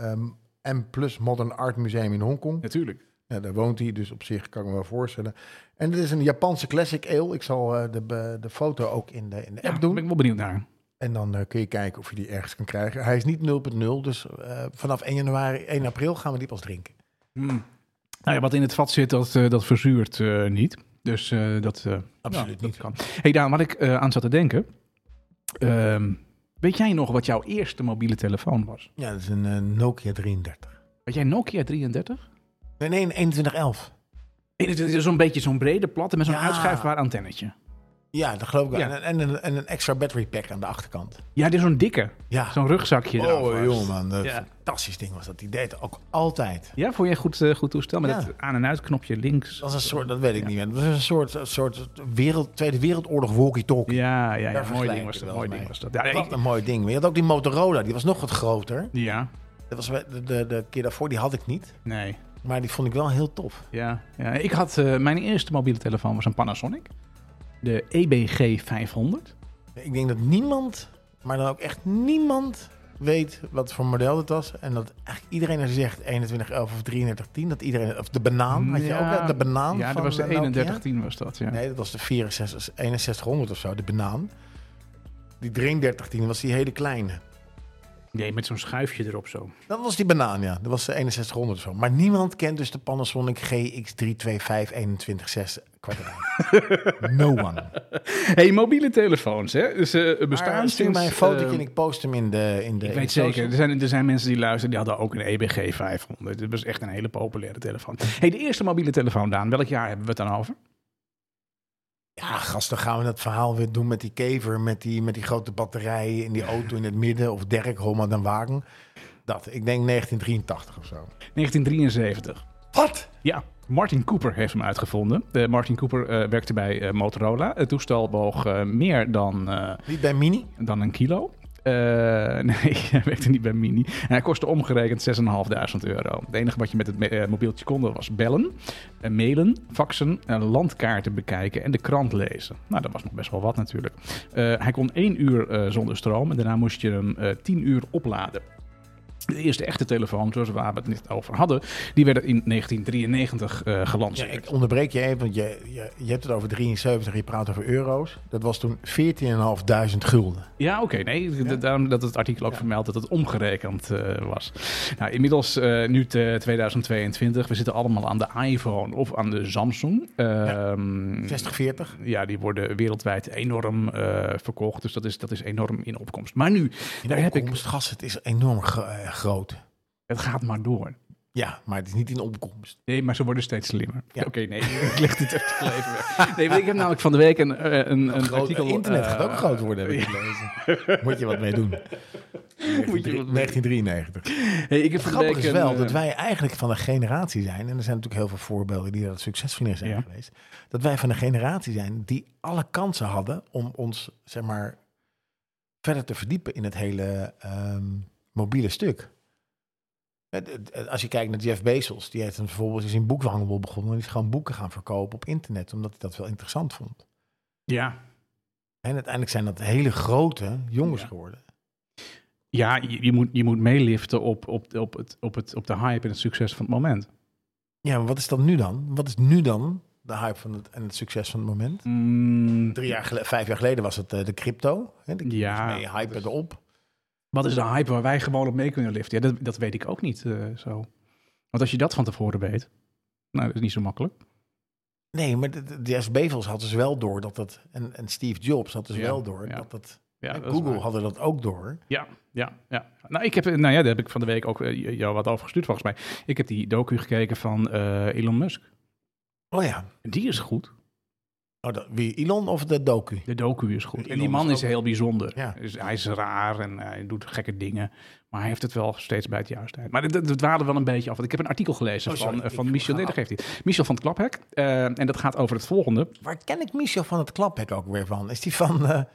Speaker 2: ehm, M Plus Modern Art Museum in Hongkong.
Speaker 1: natuurlijk.
Speaker 2: Ja, daar woont hij, dus op zich kan ik me wel voorstellen. En dit is een Japanse classic ale. Ik zal eh, de, be- de foto ook in de, in de
Speaker 1: Ja,
Speaker 2: app
Speaker 1: doen.
Speaker 2: doen.
Speaker 1: ben ik wel benieuwd naar.
Speaker 2: En dan eh, kun je kijken of je die ergens kan krijgen. Hij is niet 0.0, dus eh, vanaf 1 januari, 1 april gaan we die pas drinken.
Speaker 1: Hmm. Nou ja, wat in het vat zit, dat, eh, dat verzuurt eh, niet. Dus eh, dat, eh,
Speaker 2: Absoluut
Speaker 1: ja,
Speaker 2: niet.
Speaker 1: Dat kan. hey Daan, wat ik eh, aan zat te denken. ehm, weet jij nog wat jouw eerste mobiele telefoon was?
Speaker 2: Ja, dat is een eh, Nokia 33.
Speaker 1: Had jij Nokia 33?
Speaker 2: Nee, nee, een 2111.
Speaker 1: Nee, dit is Zo'n beetje zo'n brede platte met zo'n
Speaker 2: Ja.
Speaker 1: uitschuifbaar antennetje.
Speaker 2: Ja, dat geloof ik wel.
Speaker 1: Ja.
Speaker 2: En, en, een- en een extra battery pack aan de achterkant.
Speaker 1: Ja, dit is zo'n dikke.
Speaker 2: Ja.
Speaker 1: Zo'n rugzakje.
Speaker 2: oh,
Speaker 1: daarvoor.
Speaker 2: jongeman. dat
Speaker 1: Ja.
Speaker 2: Fantastisch ding was dat. Die deed ook altijd.
Speaker 1: Ja, vond je goed, eh, goed toestel? Met
Speaker 2: Ja.
Speaker 1: dat aan- en uitknopje links.
Speaker 2: Dat is een soort, dat weet ik niet meer. Dat is een soort, een soort wereld, Tweede Wereldoorlog walkie-talkie.
Speaker 1: Ja, ja,
Speaker 2: Daar
Speaker 1: ja. Mooi
Speaker 2: vergelijk
Speaker 1: ding was
Speaker 2: ik
Speaker 1: dat.
Speaker 2: wel
Speaker 1: Mooi
Speaker 2: mee.
Speaker 1: ding was dat. Ja,
Speaker 2: Wat
Speaker 1: ik-
Speaker 2: een mooi ding. Maar je had ook die Motorola, die was nog wat groter.
Speaker 1: ja,
Speaker 2: Dat was bij- de, de, de keer daarvoor, die had ik niet.
Speaker 1: nee.
Speaker 2: Maar die vond ik wel heel tof.
Speaker 1: Ja, ja. ik had eh, mijn eerste mobiele telefoon was een Panasonic. De E EBG 500.
Speaker 2: Ik denk dat niemand, maar dan ook echt niemand, weet wat voor model het was. En dat eigenlijk iedereen er zegt 2111 of 3310. Dat iedereen, of de banaan, Oh, had je
Speaker 1: Ja,
Speaker 2: ook wel de banaan
Speaker 1: Ja,
Speaker 2: van
Speaker 1: dat was de
Speaker 2: eh, Nokia?
Speaker 1: 3110 was dat, ja.
Speaker 2: Nee, dat was de 64, 6100 of zo, de banaan. Die 3310 was die hele kleine.
Speaker 1: Nee, met zo'n schuifje erop zo.
Speaker 2: Dat was die banaan, ja. Dat was de 6100 of zo. Maar niemand kent dus de Panasonic GX325-216 kwadraat. no one.
Speaker 1: hey, mobiele telefoons, hè. Dus, eh, bestaan
Speaker 2: Maar stuur
Speaker 1: sinds...
Speaker 2: mij een fotootje
Speaker 1: eh,
Speaker 2: en ik post hem in de in
Speaker 1: ik
Speaker 2: de. in de
Speaker 1: weet zeker,
Speaker 2: socials.
Speaker 1: er zijn, er zijn mensen die luisteren, die hadden ook een E EBG 500. Dat was echt een hele populaire telefoon. hey, de eerste mobiele telefoon, Daan. Welk jaar hebben we het dan over?
Speaker 2: Ja, gast, dan gaan we dat verhaal weer doen met die kever, met die, met die grote batterij in die auto in het midden. Of Dirk, Homa den Wagen. Dat, ik denk 1983 of zo.
Speaker 1: 1973.
Speaker 2: Wat?
Speaker 1: Ja, Martin Cooper heeft hem uitgevonden. Eh, Martin Cooper eh, werkte bij eh, Motorola. Het toestel woog eh, meer dan... eh,
Speaker 2: Niet bij Mini?
Speaker 1: dan een kilo. Eh, nee, hij werkte niet bij Mini. En hij kostte omgerekend 6.500 euro. Het enige wat je met het me- eh, mobieltje kon doen was bellen, eh, mailen, faxen, eh, landkaarten bekijken en de krant lezen. Nou, dat was nog best wel wat natuurlijk. Eh, hij kon één uur eh, zonder stroom en daarna moest je hem eh, tien uur opladen. De eerste echte telefoons, zoals waar we het net over hadden, die werden in 1993 eh,
Speaker 2: Ja,
Speaker 1: gelanceerd.
Speaker 2: ik onderbreek je even, want je, je, je hebt het over 73, je praat over euro's. Dat was toen 14.500 gulden.
Speaker 1: Ja, oké. Nee, d- daarom dat het artikel ook vermeldt dat het omgerekend eh, was. Nou, inmiddels eh, nu te 2022. We zitten allemaal aan de iPhone of aan de Samsung. Ehm,
Speaker 2: 60, 40.
Speaker 1: ja, die worden wereldwijd enorm eh, verkocht. Dus dat is, dat is enorm in opkomst. Maar nu, daar heb ik...
Speaker 2: opkomst, gas, het is enorm gro- eh, groot.
Speaker 1: Het gaat maar door.
Speaker 2: Ja, maar het is niet in opkomst.
Speaker 1: Nee, maar ze worden steeds slimmer.
Speaker 2: Ja.
Speaker 1: Oké, nee, ik leg dit echt wel even weg. Nee, want ik heb namelijk van de week een, eh, een, een
Speaker 2: Groot,
Speaker 1: artikel...
Speaker 2: internet gaat ook
Speaker 1: eh,
Speaker 2: groot worden, heb ik gelezen. Moet je wat mee doen.
Speaker 1: Moet je wat mee
Speaker 2: 1993.
Speaker 1: Hey, ik heb van de
Speaker 2: Grappig
Speaker 1: week
Speaker 2: is
Speaker 1: een,
Speaker 2: wel
Speaker 1: eh,
Speaker 2: dat wij eigenlijk van de generatie zijn, en er zijn natuurlijk heel veel voorbeelden die daar succesvol in zijn
Speaker 1: Ja.
Speaker 2: geweest, dat wij van de generatie zijn die alle kansen hadden om ons, zeg maar, verder te verdiepen in het hele ehm, mobiele stuk. Het- het- het- Als je kijkt naar Jeff Bezos, die heeft een, bijvoorbeeld is in boekhandel begonnen en die is gewoon boeken gaan verkopen op internet, omdat hij dat wel interessant vond.
Speaker 1: Ja,
Speaker 2: En uiteindelijk zijn dat hele grote jongens
Speaker 1: Ja.
Speaker 2: geworden.
Speaker 1: Ja, je, je moet, je moet meeliften op, op, op, het, op, het, op de hype en het succes van het moment.
Speaker 2: Ja, maar wat is dat nu dan? Wat is nu dan de hype van het, en het succes van het moment?
Speaker 1: Mm,
Speaker 2: Drie jaar gele- vijf jaar geleden was het eh, de crypto. Hè? De
Speaker 1: Ja,
Speaker 2: mee hype erop.
Speaker 1: wat is de hype waar wij gewoon op mee kunnen liften? Ja, dat, dat weet ik ook niet eh, zo. Want als je dat van tevoren weet, nou, dat is niet zo makkelijk.
Speaker 2: Nee, maar de, de- de Jeff Bevels had dus wel door dat dat... En, en Steve Jobs had dus
Speaker 1: Ja,
Speaker 2: wel door
Speaker 1: ja.
Speaker 2: dat dat...
Speaker 1: Ja,
Speaker 2: en
Speaker 1: dat is
Speaker 2: Google
Speaker 1: waar.
Speaker 2: hadden dat ook door.
Speaker 1: Ja, ja, ja. Nou, ik heb, eh, nou ja, daar heb ik van de week ook eh, jou wat over gestuurd volgens mij. Ik heb die docu gekeken van eh, Elon Musk.
Speaker 2: Oh ja.
Speaker 1: Die is goed.
Speaker 2: Oh, dat, wie, Elon of de docu?
Speaker 1: De docu is goed. en die
Speaker 2: Elon
Speaker 1: man
Speaker 2: is
Speaker 1: is,
Speaker 2: ook-
Speaker 1: heel bijzonder.
Speaker 2: Ja.
Speaker 1: Dus hij is raar en eh, hij doet gekke dingen. Maar hij heeft het wel steeds bij het juiste tijd. Maar het dwaalde wel een beetje af. Want ik heb een artikel gelezen
Speaker 2: Oh,
Speaker 1: van,
Speaker 2: sorry,
Speaker 1: eh, van
Speaker 2: ik
Speaker 1: Michel. Nee,
Speaker 2: ga
Speaker 1: dat geeft hij. Michel van het Klaphek. Eh, en dat gaat over het volgende.
Speaker 2: Waar ken ik Michel van het Klaphek ook weer van? Is die van... eh,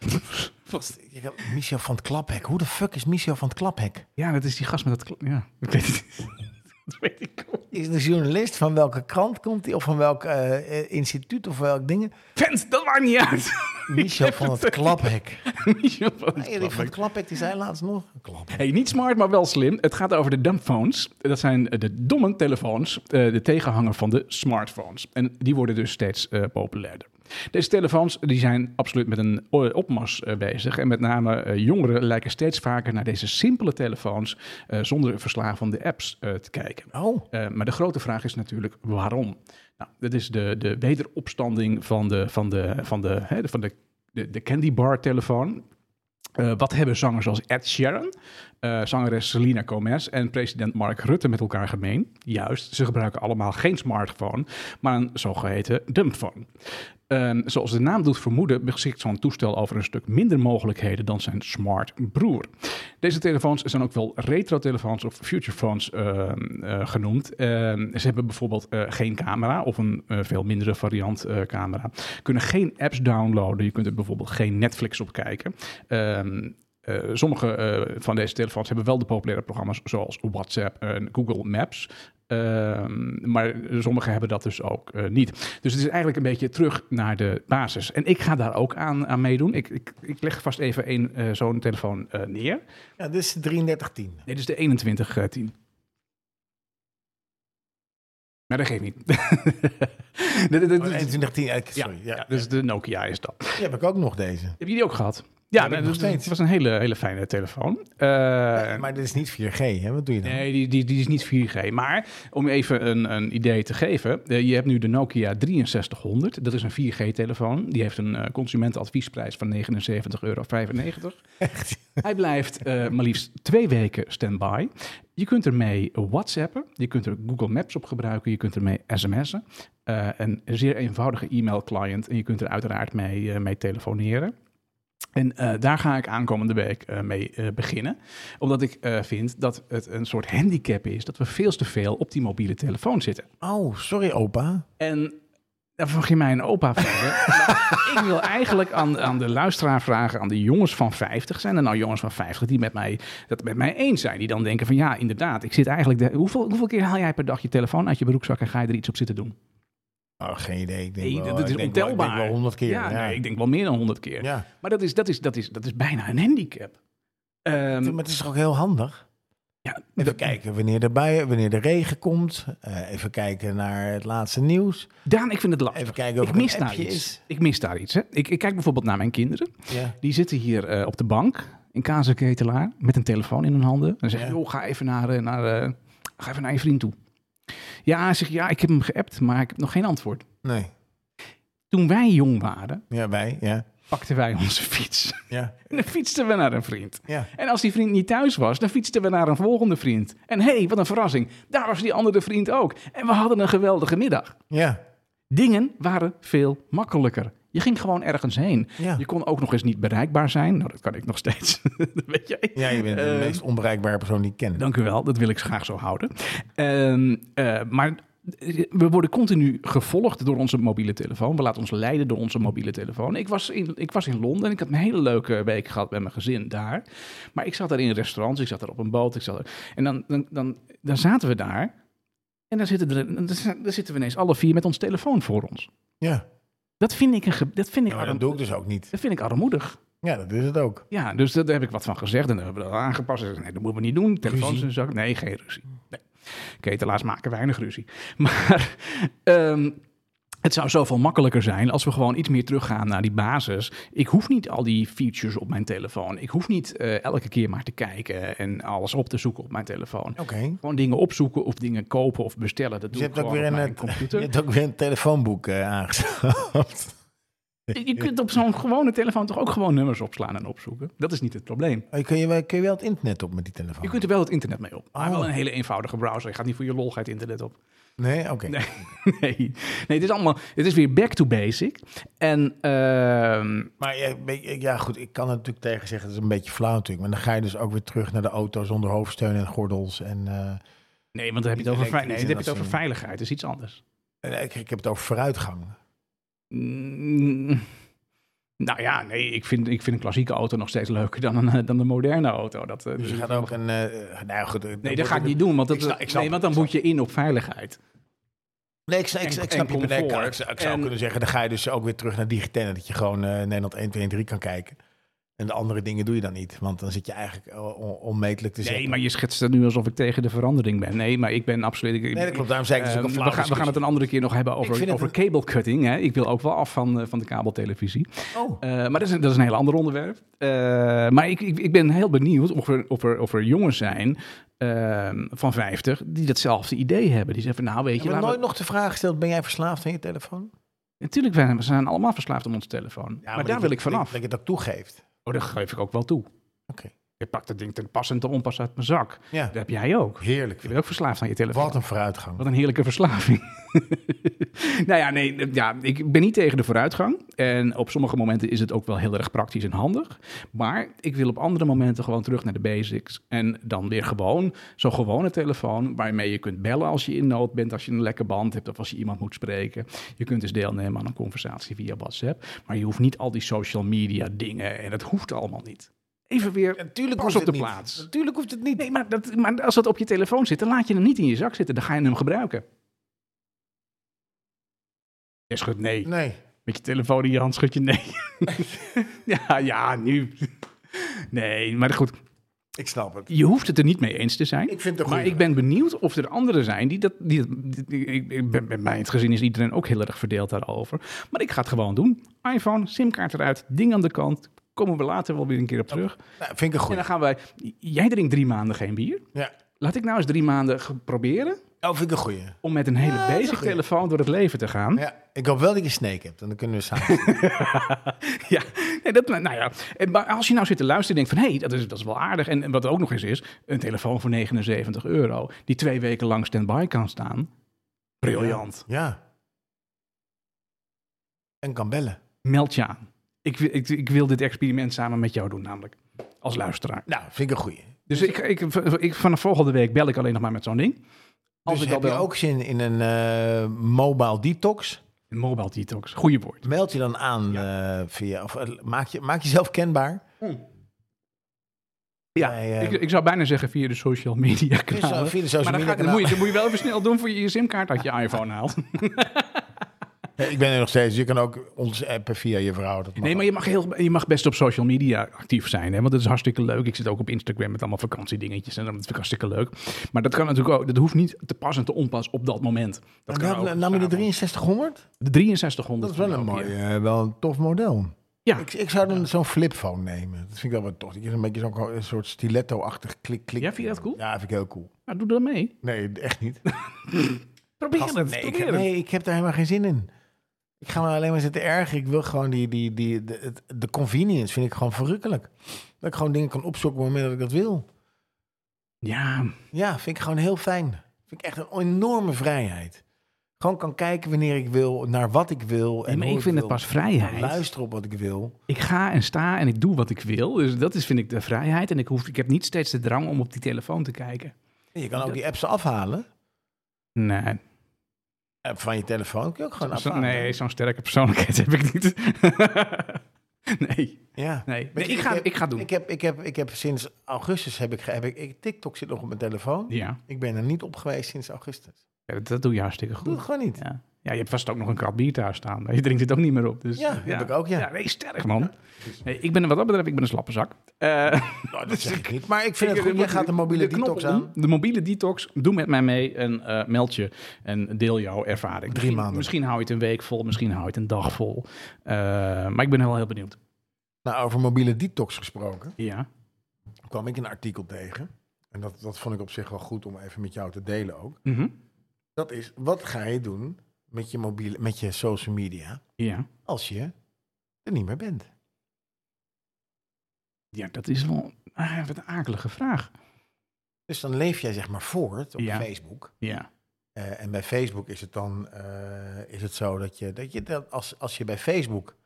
Speaker 2: Michel van het Klaphek. Hoe de fuck is Michel van het Klaphek?
Speaker 1: Ja, dat is die gast met dat... kla- Ja, ik weet het niet. Dat weet ik ook. niet.
Speaker 2: Is de journalist van welke krant komt hij? Of van welk eh, eh, instituut of welk dingen?
Speaker 1: Vent, dat maakt niet uit.
Speaker 2: Michel van het Klaphek.
Speaker 1: Michel van het
Speaker 2: Erik van
Speaker 1: Klaphek.
Speaker 2: het Klaphek, die zei laatst nog... Klaphek.
Speaker 1: Hey, niet smart, maar wel slim. Het gaat over de dumbphones. Dat zijn eh, de domme telefoons, eh, de tegenhanger van de smartphones. En die worden dus steeds eh, populairder. Deze telefoons die zijn absoluut met een o- opmars eh, bezig. En met name eh, jongeren lijken steeds vaker naar deze simpele telefoons eh, zonder verslavende apps eh, te kijken.
Speaker 2: Oh,
Speaker 1: Eh, maar de grote vraag is natuurlijk waarom. Nou, dat is de, de wederopstanding van de, van de, van de, hè, de- van de, de, de candy bar telefoon. Eh, wat hebben zangers als Ed Sheeran, eh, zangeres Selena Gomez en president Mark Rutte met elkaar gemeen? Juist, ze gebruiken allemaal geen smartphone, maar een zogeheten dumbphone. Ehm, zoals de naam doet vermoeden, beschikt zo'n toestel over een stuk minder mogelijkheden dan zijn smart broer. Deze telefoons zijn ook wel retro-telefoons of futurephones ehm, eh, genoemd. Ehm, ze hebben bijvoorbeeld eh, geen camera of een eh, veel mindere variant eh, camera. Kunnen geen apps downloaden. Je kunt er bijvoorbeeld geen Netflix op kijken. Ehm, eh, sommige eh, van deze telefoons hebben wel de populaire programma's zoals WhatsApp en Google Maps. Ehm, maar sommige hebben dat dus ook eh, niet. Dus het is eigenlijk een beetje terug naar de basis. En ik ga daar ook aan, aan meedoen. Ik, ik, ik leg vast even een, eh, zo'n telefoon eh, neer.
Speaker 2: ja, dit is 3310.
Speaker 1: Dit is de eh, 2110. Maar dat geeft niet. Dit- dit- dit-
Speaker 2: Oh, 2110, eh, sorry. Ja,
Speaker 1: ja, dus de Nokia is dat.
Speaker 2: Die heb ik ook nog deze.
Speaker 1: Heb je die ook gehad? Ja,
Speaker 2: heb ik
Speaker 1: dat
Speaker 2: nog steeds.
Speaker 1: was een hele, hele fijne telefoon. Eh,
Speaker 2: Ja, maar dit is niet 4G, hè? Wat doe je dan?
Speaker 1: Nee, die, die, die is niet 4G. Maar om even een, een idee te geven. eh, je hebt nu de Nokia 6300. Dat is een 4G-telefoon. Die heeft een eh, consumentenadviesprijs van 79,95 euro. Hij blijft eh, maar liefst twee weken standby. Je kunt ermee WhatsAppen. Je kunt er Google Maps op gebruiken. Je kunt ermee sms'en. eh, een zeer eenvoudige e-mail-client. En je kunt er uiteraard mee, eh, mee telefoneren. En eh, daar ga ik aankomende week eh, mee eh, beginnen. Omdat ik eh, vind dat het een soort handicap is dat we veel te veel op die mobiele telefoon zitten.
Speaker 2: Oh, sorry opa.
Speaker 1: En daar mag je mij een opa vragen. Maar ik wil eigenlijk aan, aan de luisteraar vragen, aan de jongens van 50. Zijn er nou jongens van 50 die met mij, dat met mij eens zijn? Die dan denken van ja, inderdaad, ik zit eigenlijk... De, hoeveel, hoeveel keer haal jij per dag je telefoon uit je broekzak en ga je er iets op zitten doen?
Speaker 2: Oh, geen idee. Ik denk
Speaker 1: Nee,
Speaker 2: wel,
Speaker 1: dat is
Speaker 2: ik denk wel-
Speaker 1: ontelbaar.
Speaker 2: Ik denk wel 100 keer.
Speaker 1: Ja,
Speaker 2: Ja,
Speaker 1: Nee, ik denk wel meer dan 100 keer.
Speaker 2: ja.
Speaker 1: Maar dat is, dat, is, dat, is, dat is bijna een handicap. Ehm,
Speaker 2: Maar het is toch ook heel handig?
Speaker 1: ja,
Speaker 2: Even
Speaker 1: dat-
Speaker 2: kijken wanneer de, buien, wanneer de regen komt. Eh, even kijken naar het laatste nieuws.
Speaker 1: Daan, ik vind het lastig.
Speaker 2: Even kijken of
Speaker 1: ik
Speaker 2: er een
Speaker 1: mis daar
Speaker 2: appje
Speaker 1: iets.
Speaker 2: is.
Speaker 1: Ik mis daar iets. Hè? Ik, ik kijk bijvoorbeeld naar mijn kinderen.
Speaker 2: Ja.
Speaker 1: Die zitten hier eh, op de bank in Kazenketelaar met een telefoon in hun handen. En zeggen,
Speaker 2: Ja.
Speaker 1: joh, ga even naar, eh, naar, eh, ga even naar je vriend toe. Ja, zeg ja, ik heb hem geappt, maar ik heb nog geen antwoord.
Speaker 2: Nee.
Speaker 1: Toen wij jong waren,
Speaker 2: Ja, wij. Ja.
Speaker 1: pakten wij onze fiets.
Speaker 2: Ja.
Speaker 1: En dan fietsten we naar een vriend.
Speaker 2: Ja.
Speaker 1: En als die vriend niet thuis was, dan fietsten we naar een volgende vriend. En hé, hey, wat een verrassing. Daar was die andere vriend ook. En we hadden een geweldige middag.
Speaker 2: Ja.
Speaker 1: Dingen waren veel makkelijker. Je ging gewoon ergens heen.
Speaker 2: Ja.
Speaker 1: Je kon ook nog eens niet bereikbaar zijn. Nou, dat kan ik nog steeds. dat weet jij.
Speaker 2: Ja, je bent de
Speaker 1: Eh,
Speaker 2: meest onbereikbare persoon die ik ken.
Speaker 1: Dank u wel, dat wil ik graag zo houden. Ehm, eh, maar we worden continu gevolgd door onze mobiele telefoon. We laten ons leiden door onze mobiele telefoon. Ik was in, ik was in Londen en ik had een hele leuke week gehad met mijn gezin daar. Maar ik zat daar in restaurants, ik zat daar op een boot. Ik zat er, en dan, dan, dan, dan zaten we daar en dan zitten, er, dan zitten we ineens alle vier met ons telefoon voor ons.
Speaker 2: Ja.
Speaker 1: Dat vind ik, een ge- dat vind ik,
Speaker 2: Ja, maar dat
Speaker 1: arm-
Speaker 2: doe ik dus ook niet.
Speaker 1: dat vind ik armoedig.
Speaker 2: Ja, dat is het ook.
Speaker 1: Ja, dus daar heb ik wat van gezegd en dan hebben we dat aangepast. Dus Ik zei, nee, dat moeten we niet doen. Telefoons in de zak. Nee, geen ruzie. Nee. Ketelaars maken weinig ruzie. Maar ehm, het zou zoveel makkelijker zijn als we gewoon iets meer teruggaan naar die basis. Ik hoef niet al die features op mijn telefoon. Ik hoef niet eh, elke keer maar te kijken en alles op te zoeken op mijn telefoon.
Speaker 2: Oké.
Speaker 1: Gewoon dingen opzoeken of dingen kopen of bestellen. Dat doe
Speaker 2: Dus je
Speaker 1: ik
Speaker 2: hebt, ook
Speaker 1: gewoon
Speaker 2: weer
Speaker 1: op
Speaker 2: een,
Speaker 1: mijn
Speaker 2: eh,
Speaker 1: computer.
Speaker 2: je hebt ook weer een telefoonboek eh aangeschaft.
Speaker 1: Je kunt op zo'n gewone telefoon toch ook gewoon nummers opslaan en opzoeken. Dat is niet het probleem.
Speaker 2: Oh, je kun, je, wel- kun je wel het internet op met die telefoon?
Speaker 1: Je kunt er wel het internet mee op. Maar
Speaker 2: Oh.
Speaker 1: Ah, wel een hele eenvoudige browser. Je gaat niet voor je lolheid internet op.
Speaker 2: Nee, oké.
Speaker 1: Nee, nee. nee het is allemaal... Het is weer back to basic. En ehm,
Speaker 2: Maar ja, ik- ik- ja, goed, ik kan het natuurlijk tegen zeggen, dat is een beetje flauw natuurlijk. Maar dan ga je dus ook weer terug naar de auto zonder hoofdsteun en gordels. En, eh,
Speaker 1: nee, want dan heb je het
Speaker 2: Niet
Speaker 1: over, vei-
Speaker 2: elektrisch
Speaker 1: nee,
Speaker 2: en
Speaker 1: dan heb
Speaker 2: dat
Speaker 1: je het over
Speaker 2: soort
Speaker 1: veiligheid. Dat is iets anders.
Speaker 2: en ik, ik heb het over vooruitgang.
Speaker 1: Dus Mm, nou ja, nee. Ik vind, ik vind een klassieke auto nog steeds leuker dan een, eh, dan een moderne auto. Dat, eh,
Speaker 2: Dus je
Speaker 1: dat-
Speaker 2: gaat ook een... eh nou goed,
Speaker 1: Nee,
Speaker 2: dan
Speaker 1: dat ga ik
Speaker 2: wordt
Speaker 1: niet doen. Want, dat,
Speaker 2: Ik snap- ik snap- Dus
Speaker 1: nee, want dan
Speaker 2: ik
Speaker 1: moet je in op veiligheid.
Speaker 2: Nee, ik, sna- ik,
Speaker 1: En-
Speaker 2: ik snap
Speaker 1: en
Speaker 2: je bedoel. Ik,
Speaker 1: comfort.
Speaker 2: ik zou ik zou
Speaker 1: En-
Speaker 2: kunnen zeggen, dan ga je dus ook weer terug naar digitale. Dat je gewoon eh, Nederland 1, 2 en 3 kan kijken. En de andere dingen doe je dan niet. Want dan zit je eigenlijk on- on- onmetelijk te zeggen.
Speaker 1: Nee, maar je schetst het nu alsof ik tegen de verandering ben. Nee, maar ik ben absoluut... ik-
Speaker 2: Nee, dat klopt. Daarom zei ik dus
Speaker 1: Ehm,
Speaker 2: ook een
Speaker 1: we,
Speaker 2: flauw
Speaker 1: gaan, we gaan het een andere keer nog hebben
Speaker 2: Ik vind
Speaker 1: over,
Speaker 2: het
Speaker 1: over
Speaker 2: een-
Speaker 1: cable cutting. Hè. Ik wil ook wel af van, eh, van de kabeltelevisie.
Speaker 2: Oh.
Speaker 1: Eh, maar dat is, een- dat is een heel ander onderwerp. Eh, maar ik, ik, ik ben heel benieuwd of er, of er, of er jongens zijn ehm, van 50 die datzelfde idee hebben. Die zeggen van, nou weet
Speaker 2: Ik
Speaker 1: je...
Speaker 2: heb
Speaker 1: laten we-
Speaker 2: nooit nog de vraag gesteld, ben jij verslaafd aan je telefoon?
Speaker 1: Natuurlijk, wij zijn allemaal verslaafd aan onze telefoon. maar, daar wil ik vanaf.
Speaker 2: Dat je dat toegeeft.
Speaker 1: Oh, dat geef ik ook wel toe.
Speaker 2: Oké.
Speaker 1: Je pakt het ding ten pas en ten onpas uit mijn zak.
Speaker 2: Ja,
Speaker 1: Dat heb jij ook.
Speaker 2: heerlijk.
Speaker 1: Je bent ook verslaafd aan je telefoon.
Speaker 2: Wat een vooruitgang.
Speaker 1: Wat een heerlijke verslaving. nou ja, nee, ja, ik ben niet tegen de vooruitgang. En op sommige momenten is het ook wel heel erg praktisch en handig. Maar ik wil op andere momenten gewoon terug naar de basics. En dan weer gewoon zo'n gewone telefoon waarmee je kunt bellen als je in nood bent, als je een lekke band hebt of als je iemand moet spreken. Je kunt dus deelnemen aan een conversatie via WhatsApp. Maar je hoeft niet al die social media dingen en het hoeft allemaal niet. Even weer
Speaker 2: Natuurlijk
Speaker 1: pas
Speaker 2: hoeft
Speaker 1: op
Speaker 2: het
Speaker 1: de
Speaker 2: niet.
Speaker 1: plaats.
Speaker 2: Natuurlijk hoeft het niet.
Speaker 1: Nee, maar, dat, maar als dat op je telefoon zit, dan laat je hem niet in je zak zitten. Dan ga je hem gebruiken. Je schudt nee.
Speaker 2: Nee.
Speaker 1: Met je telefoon in je hand schud je nee. ja, ja, nu. Nee, maar goed.
Speaker 2: Ik snap het.
Speaker 1: Je hoeft het er niet mee eens te zijn.
Speaker 2: Ik vind het een
Speaker 1: maar
Speaker 2: goeie.
Speaker 1: ik ben benieuwd of er anderen zijn die dat. Die, dat- die- ik, ik ben, bij mij in het gezin is iedereen ook heel erg verdeeld daarover. Maar ik ga het gewoon doen. iPhone, simkaart eruit, ding aan de kant. Komen we later wel weer een keer op terug.
Speaker 2: Nou, vind ik een
Speaker 1: En dan
Speaker 2: goed.
Speaker 1: gaan wij. Jij drinkt drie maanden geen bier.
Speaker 2: Ja.
Speaker 1: Laat ik nou eens drie maanden ge- proberen
Speaker 2: Oh, vind ik een goeie.
Speaker 1: om met een hele
Speaker 2: Ja, dat is
Speaker 1: basic
Speaker 2: een goeie.
Speaker 1: telefoon door het leven te gaan. Ja,
Speaker 2: Ja. Ik hoop wel dat je Snake hebt. En dan kunnen we samen.
Speaker 1: nee, dat, nou ja. En, maar als je nou zit te luisteren en denkt van, hé, hey, dat, is, dat is wel aardig. En, en wat er ook nog eens is, een telefoon voor 79 euro, die twee weken lang standby kan staan. Briljant.
Speaker 2: ja. En kan bellen.
Speaker 1: Meld je aan. Ik, wil- ik, ik wil dit experiment samen met jou doen, namelijk. Als luisteraar.
Speaker 2: Nou, vind ik een goeie.
Speaker 1: Dus ik, ik, ik, vanaf volgende week bel ik alleen nog maar met zo'n ding. Als
Speaker 2: dus
Speaker 1: ik al
Speaker 2: heb je
Speaker 1: bel.
Speaker 2: ook zin in een eh, mobile detox?
Speaker 1: Mobile detox. Goeie woord.
Speaker 2: Meld je dan aan eh, via... Of, eh, maak, je, maak jezelf kenbaar.
Speaker 1: Hm. Ja,
Speaker 2: Bij, eh,
Speaker 1: ik, ik zou bijna zeggen via de social media kanalen.
Speaker 2: via de social
Speaker 1: maar dan,
Speaker 2: media
Speaker 1: ga- dan, moet je,
Speaker 2: kanalen.
Speaker 1: dan moet je wel even snel doen voor je je simkaart uit je iPhone haalt.
Speaker 2: Nee, ik ben er nog steeds. Je kan ook ons appen via je vrouw. Dat mag
Speaker 1: Nee, maar je mag, heel, je mag best op social media actief zijn. Hè? Want dat is hartstikke leuk. Ik zit ook op Instagram met allemaal vakantiedingetjes. En dat vind ik hartstikke leuk. Maar dat kan natuurlijk ook. Dat hoeft niet te pas en te onpas op dat moment. Dat
Speaker 2: ook.
Speaker 1: kan
Speaker 2: Nou,
Speaker 1: ook
Speaker 2: nam je de
Speaker 1: s'avonds.
Speaker 2: 6300?
Speaker 1: De 6300.
Speaker 2: Dat is wel een
Speaker 1: kan ook,
Speaker 2: mooi,
Speaker 1: ja.
Speaker 2: eh, wel een tof model.
Speaker 1: Ja.
Speaker 2: Ik, ik zou dan zo'n flipphone nemen. Dat vind ik wel wat tof. Die is een beetje zo'n een soort stiletto-achtig klik, klik.
Speaker 1: Ja, vind je dat cool?
Speaker 2: Ja, vind ik heel cool.
Speaker 1: Nou, doe dan mee.
Speaker 2: Nee, echt niet.
Speaker 1: Probeer
Speaker 2: Gast,
Speaker 1: het.
Speaker 2: nee, ik,
Speaker 1: probeer het.
Speaker 2: nee, ik heb daar helemaal geen zin in. Ik ga me alleen maar zitten erg. Ik wil gewoon die, die, die, de, het- de convenience vind ik gewoon verrukkelijk. Dat ik gewoon dingen kan opzoeken op het moment dat ik dat wil.
Speaker 1: Ja,
Speaker 2: Ja, vind ik gewoon heel fijn. Vind ik echt een enorme vrijheid. Gewoon kan kijken wanneer ik wil, naar wat ik wil. En
Speaker 1: maar
Speaker 2: hoe
Speaker 1: ik vind het
Speaker 2: wil.
Speaker 1: pas vrijheid.
Speaker 2: Luister op wat ik wil.
Speaker 1: ik ga en sta en ik doe wat ik wil. Dus dat is, vind ik, de vrijheid. En ik, hoef, ik heb niet steeds de drang om op die telefoon te kijken.
Speaker 2: En Je kan ook die apps afhalen Oh,
Speaker 1: Nee,
Speaker 2: Eh, van je telefoon. Kun je ook gewoon
Speaker 1: Zo-
Speaker 2: afhalen.
Speaker 1: nee, zo'n sterke persoonlijkheid heb ik niet. nee,
Speaker 2: Ja.
Speaker 1: nee.
Speaker 2: Weet
Speaker 1: nee
Speaker 2: je,
Speaker 1: ik, ga,
Speaker 2: heb-
Speaker 1: ik ga doen.
Speaker 2: Ik heb, ik heb, ik heb sinds augustus heb ik, ge- heb ik, ik- TikTok zit nog op mijn telefoon.
Speaker 1: ja,
Speaker 2: Ik ben er niet op geweest sinds augustus.
Speaker 1: ja, dat, dat doe je hartstikke
Speaker 2: Doe het
Speaker 1: goed.
Speaker 2: gewoon niet.
Speaker 1: Ja, Ja, je hebt vast ook nog een krat bier daar staan. Je drinkt het ook niet meer op. Dus,
Speaker 2: Ja, heb ik ook, ja.
Speaker 1: nee, sterk man. Nee, ik ben wat dat betreft, ik ben een slappe zak. Eh,
Speaker 2: Nou, dat zeg ik niet. Maar ik vind
Speaker 1: Ik-
Speaker 2: het goed.
Speaker 1: we
Speaker 2: Jij
Speaker 1: moeten
Speaker 2: gaat een mobiele
Speaker 1: de knop
Speaker 2: detox
Speaker 1: om.
Speaker 2: aan.
Speaker 1: Hm? De mobiele detox. Doe met mij mee en eh, meld je. En deel jouw ervaring. misschien,
Speaker 2: maanden.
Speaker 1: Misschien hou je het een week vol. Misschien hou je het een dag vol. Eh, maar ik ben wel heel benieuwd.
Speaker 2: Nou, over mobiele detox gesproken.
Speaker 1: Ja.
Speaker 2: kwam ik een artikel tegen. En dat, dat vond ik op zich wel goed om even met jou te delen ook.
Speaker 1: Mhm.
Speaker 2: Dat is, wat ga je doen met je, mobiele, met je social media
Speaker 1: ja.
Speaker 2: als je er niet meer bent?
Speaker 1: Ja, dat is wel ah, wat een akelige vraag.
Speaker 2: Dus dan leef jij zeg maar voort op
Speaker 1: Ja.
Speaker 2: Facebook.
Speaker 1: Ja.
Speaker 2: Eh, en bij Facebook is het dan eh, is het zo dat je, dat je dat als, als je bij Facebook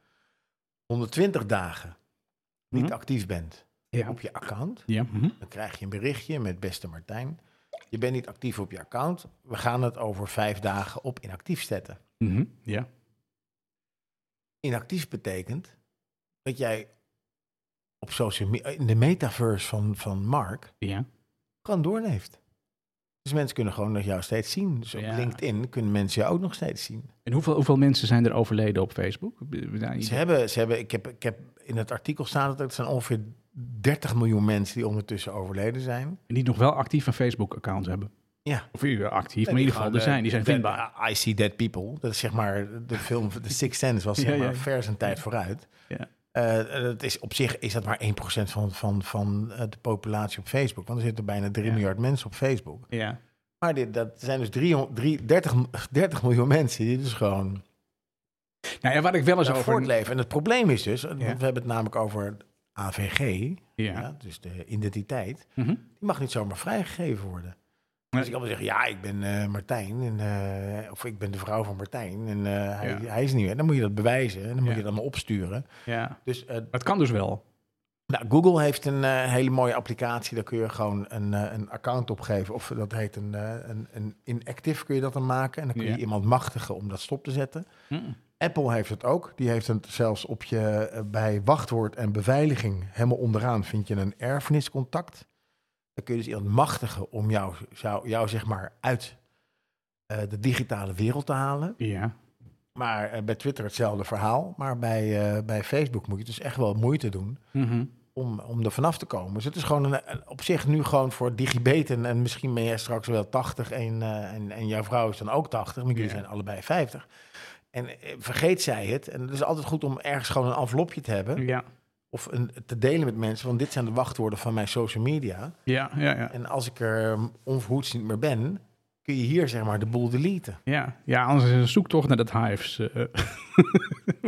Speaker 2: 120 dagen niet
Speaker 1: Mhm.
Speaker 2: actief bent
Speaker 1: Ja.
Speaker 2: op je account,
Speaker 1: Ja. mhm.
Speaker 2: dan krijg je een berichtje met beste Martijn. Je bent niet actief op je account. We gaan het over vijf dagen op inactief zetten.
Speaker 1: Mhm. ja.
Speaker 2: inactief betekent dat jij op social media, in de metaverse van, van Mark,
Speaker 1: Ja.
Speaker 2: gewoon doorleeft. Dus mensen kunnen gewoon nog jou steeds zien. Dus op
Speaker 1: Ja.
Speaker 2: LinkedIn kunnen mensen jou ook nog steeds zien.
Speaker 1: En hoeveel, hoeveel mensen zijn er overleden op Facebook? We- we- nou,
Speaker 2: Ze hebben, ze hebben, ik, heb, ik heb in het artikel staan dat het zijn ongeveer 30 miljoen mensen die ondertussen overleden zijn.
Speaker 1: Die nog wel actief een Facebook-account hebben.
Speaker 2: Ja.
Speaker 1: Of eh, actief, maar in ieder geval er zijn. Die zijn
Speaker 2: Dead-
Speaker 1: vindbaar.
Speaker 2: eh, I see dead people. Dat is zeg maar de film The Sixth Sense was
Speaker 1: Ja,
Speaker 2: zeg maar
Speaker 1: ja.
Speaker 2: ver zijn tijd vooruit.
Speaker 1: Ja.
Speaker 2: Eh, dat is op zich is dat maar 1% van, van, van eh, de populatie op Facebook. Want er zitten bijna 3
Speaker 1: Ja.
Speaker 2: miljard mensen op Facebook.
Speaker 1: Ja.
Speaker 2: Maar dit, dat zijn dus 300, drie- 30, m- 30 miljoen mensen die dus gewoon
Speaker 1: Nou ja, waar ik wel eens
Speaker 2: zo
Speaker 1: over...
Speaker 2: voortleven. En het probleem is dus, want we hebben het namelijk over AVG,
Speaker 1: Ja.
Speaker 2: ja, dus de identiteit.
Speaker 1: Mhm.
Speaker 2: Die mag niet zomaar vrijgegeven worden. Dus ik kan wel zeggen, ja, ik ben eh, Martijn. En, eh, of ik ben de vrouw van Martijn. En eh, hij,
Speaker 1: Ja.
Speaker 2: hij is niet meer. Dan moet je dat bewijzen. En dan moet
Speaker 1: Ja.
Speaker 2: je dat allemaal opsturen.
Speaker 1: Ja.
Speaker 2: Dus eh,
Speaker 1: Maar het kan dus wel.
Speaker 2: nou, Google heeft een eh, hele mooie applicatie. Daar kun je gewoon een, eh, een account opgeven. Of dat heet een, eh, een, een inactive kun je dat dan maken. En dan kun je
Speaker 1: Ja.
Speaker 2: iemand machtigen om dat stop te zetten.
Speaker 1: Mm.
Speaker 2: Apple heeft het ook. Die heeft het zelfs op je, eh, bij wachtwoord en beveiliging helemaal onderaan vind je een erfeniscontact. Dan kun je dus iemand machtigen om jou, jou, jou zeg maar uit eh, de digitale wereld te halen.
Speaker 1: Ja.
Speaker 2: Maar eh, bij Twitter hetzelfde verhaal. Maar bij, eh, bij Facebook moet je dus echt wel moeite doen
Speaker 1: Mhm.
Speaker 2: om, om er vanaf te komen. Dus het is gewoon een, een- op zich nu gewoon voor digibeten. En misschien ben jij straks wel 80 en, eh, en, en jouw vrouw is dan ook 80. Maar jullie
Speaker 1: Ja.
Speaker 2: zijn allebei 50. En eh, vergeet zij het. En het is altijd goed om ergens gewoon een envelopje te hebben.
Speaker 1: Ja.
Speaker 2: Of een, te delen met mensen. Want dit zijn de wachtwoorden van mijn social media.
Speaker 1: Ja, ja, ja.
Speaker 2: En als ik er ehm, onverhoeds niet meer ben, kun je hier zeg maar de boel deleten.
Speaker 1: Ja, ja anders is het een zoektocht naar dat Hives. eh,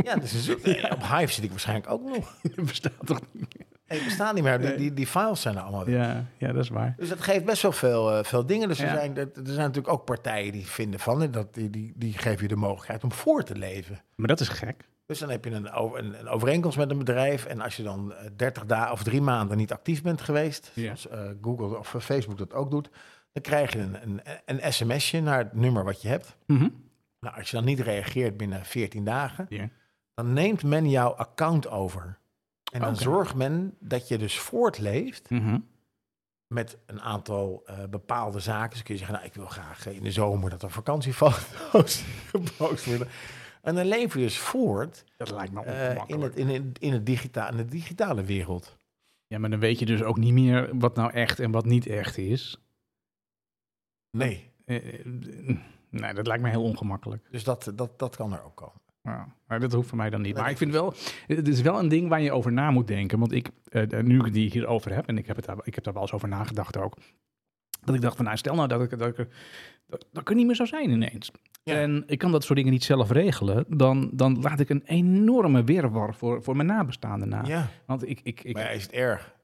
Speaker 2: Ja, dus het is- eh, op Hive zit ik waarschijnlijk ook nog.
Speaker 1: bestaat toch niet?
Speaker 2: Ik besta niet meer. Die, die, die files zijn er allemaal weg.
Speaker 1: Ja, ja, dat is waar.
Speaker 2: Dus dat geeft best wel veel, eh, veel dingen. Dus er,
Speaker 1: Ja.
Speaker 2: zijn, er er zijn natuurlijk ook partijen die vinden van... en Dat, die, die, die geven je de mogelijkheid om voor te leven.
Speaker 1: Maar dat is gek.
Speaker 2: Dus dan heb je een, o- een, een overeenkomst met een bedrijf... en als je dan eh, 30 dagen of drie maanden niet actief bent geweest...
Speaker 1: Ja.
Speaker 2: zoals eh, Google of eh, Facebook dat ook doet... dan krijg je een, een, een sms'je naar het nummer wat je hebt.
Speaker 1: Mhm.
Speaker 2: Nou, als je dan niet reageert binnen 14 dagen...
Speaker 1: Ja.
Speaker 2: dan neemt men jouw account over. En dan
Speaker 1: Oké.
Speaker 2: zorgt men dat je dus voortleeft
Speaker 1: Mhm.
Speaker 2: met een aantal eh, bepaalde zaken. Dus kun je zeggen, nou, ik wil graag eh, in de zomer dat er vakantiefoto's gepost worden. En dan leven je dus voort
Speaker 1: Dat lijkt me
Speaker 2: eh,
Speaker 1: Nou, ongemakkelijk.
Speaker 2: in, het, in, het- in, het digita in de digitale wereld.
Speaker 1: Ja, maar dan weet je dus ook niet meer wat nou echt en wat niet echt is.
Speaker 2: Nee.
Speaker 1: Eh, eh, nee, dat lijkt me heel ongemakkelijk.
Speaker 2: Dus dat, dat, dat kan er ook komen.
Speaker 1: Ja, maar dat hoeft voor mij dan niet.
Speaker 2: Nee,
Speaker 1: Maar ik
Speaker 2: dat
Speaker 1: vind wel, het is wel een ding waar je over na moet denken. Want ik, eh, nu ik die hierover heb, en ik heb, het daar, ik heb daar wel eens over nagedacht ook. Dat ik dacht van, nou, stel nou dat ik, dat ik, er- dat, dat ik er niet meer zou zijn ineens.
Speaker 2: Ja.
Speaker 1: En ik kan dat soort dingen niet zelf regelen. Dan, dan laat ik een enorme wirwar voor, voor mijn nabestaanden na.
Speaker 2: Ja,
Speaker 1: Want ik, ik, ik,
Speaker 2: maar ja, is het erg?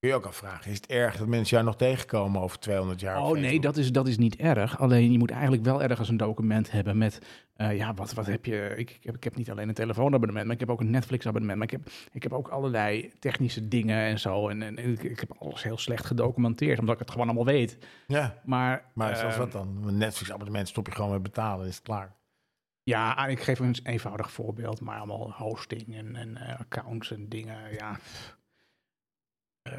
Speaker 2: Kun je ook afvragen, is het erg dat mensen jou nog tegenkomen over 200 jaar? op
Speaker 1: Oh nee,
Speaker 2: Facebook?
Speaker 1: dat is, dat is niet erg. Alleen je moet eigenlijk wel ergens een document hebben met... eh, ja, wat, wat heb je... Ik, ik, heb, ik heb niet alleen een telefoonabonnement, maar ik heb ook een Netflix-abonnement. Maar ik heb, ik heb ook allerlei technische dingen en zo. En, en, en ik, ik heb alles heel slecht gedocumenteerd, omdat ik het gewoon allemaal weet.
Speaker 2: Ja,
Speaker 1: Maar,
Speaker 2: maar zoals
Speaker 1: eh,
Speaker 2: wat dan? Een Netflix-abonnement stop je gewoon met betalen, is het klaar.
Speaker 1: Ja, ik geef een eenvoudig voorbeeld, maar allemaal hosting en, en eh, accounts en dingen. Ja, Eh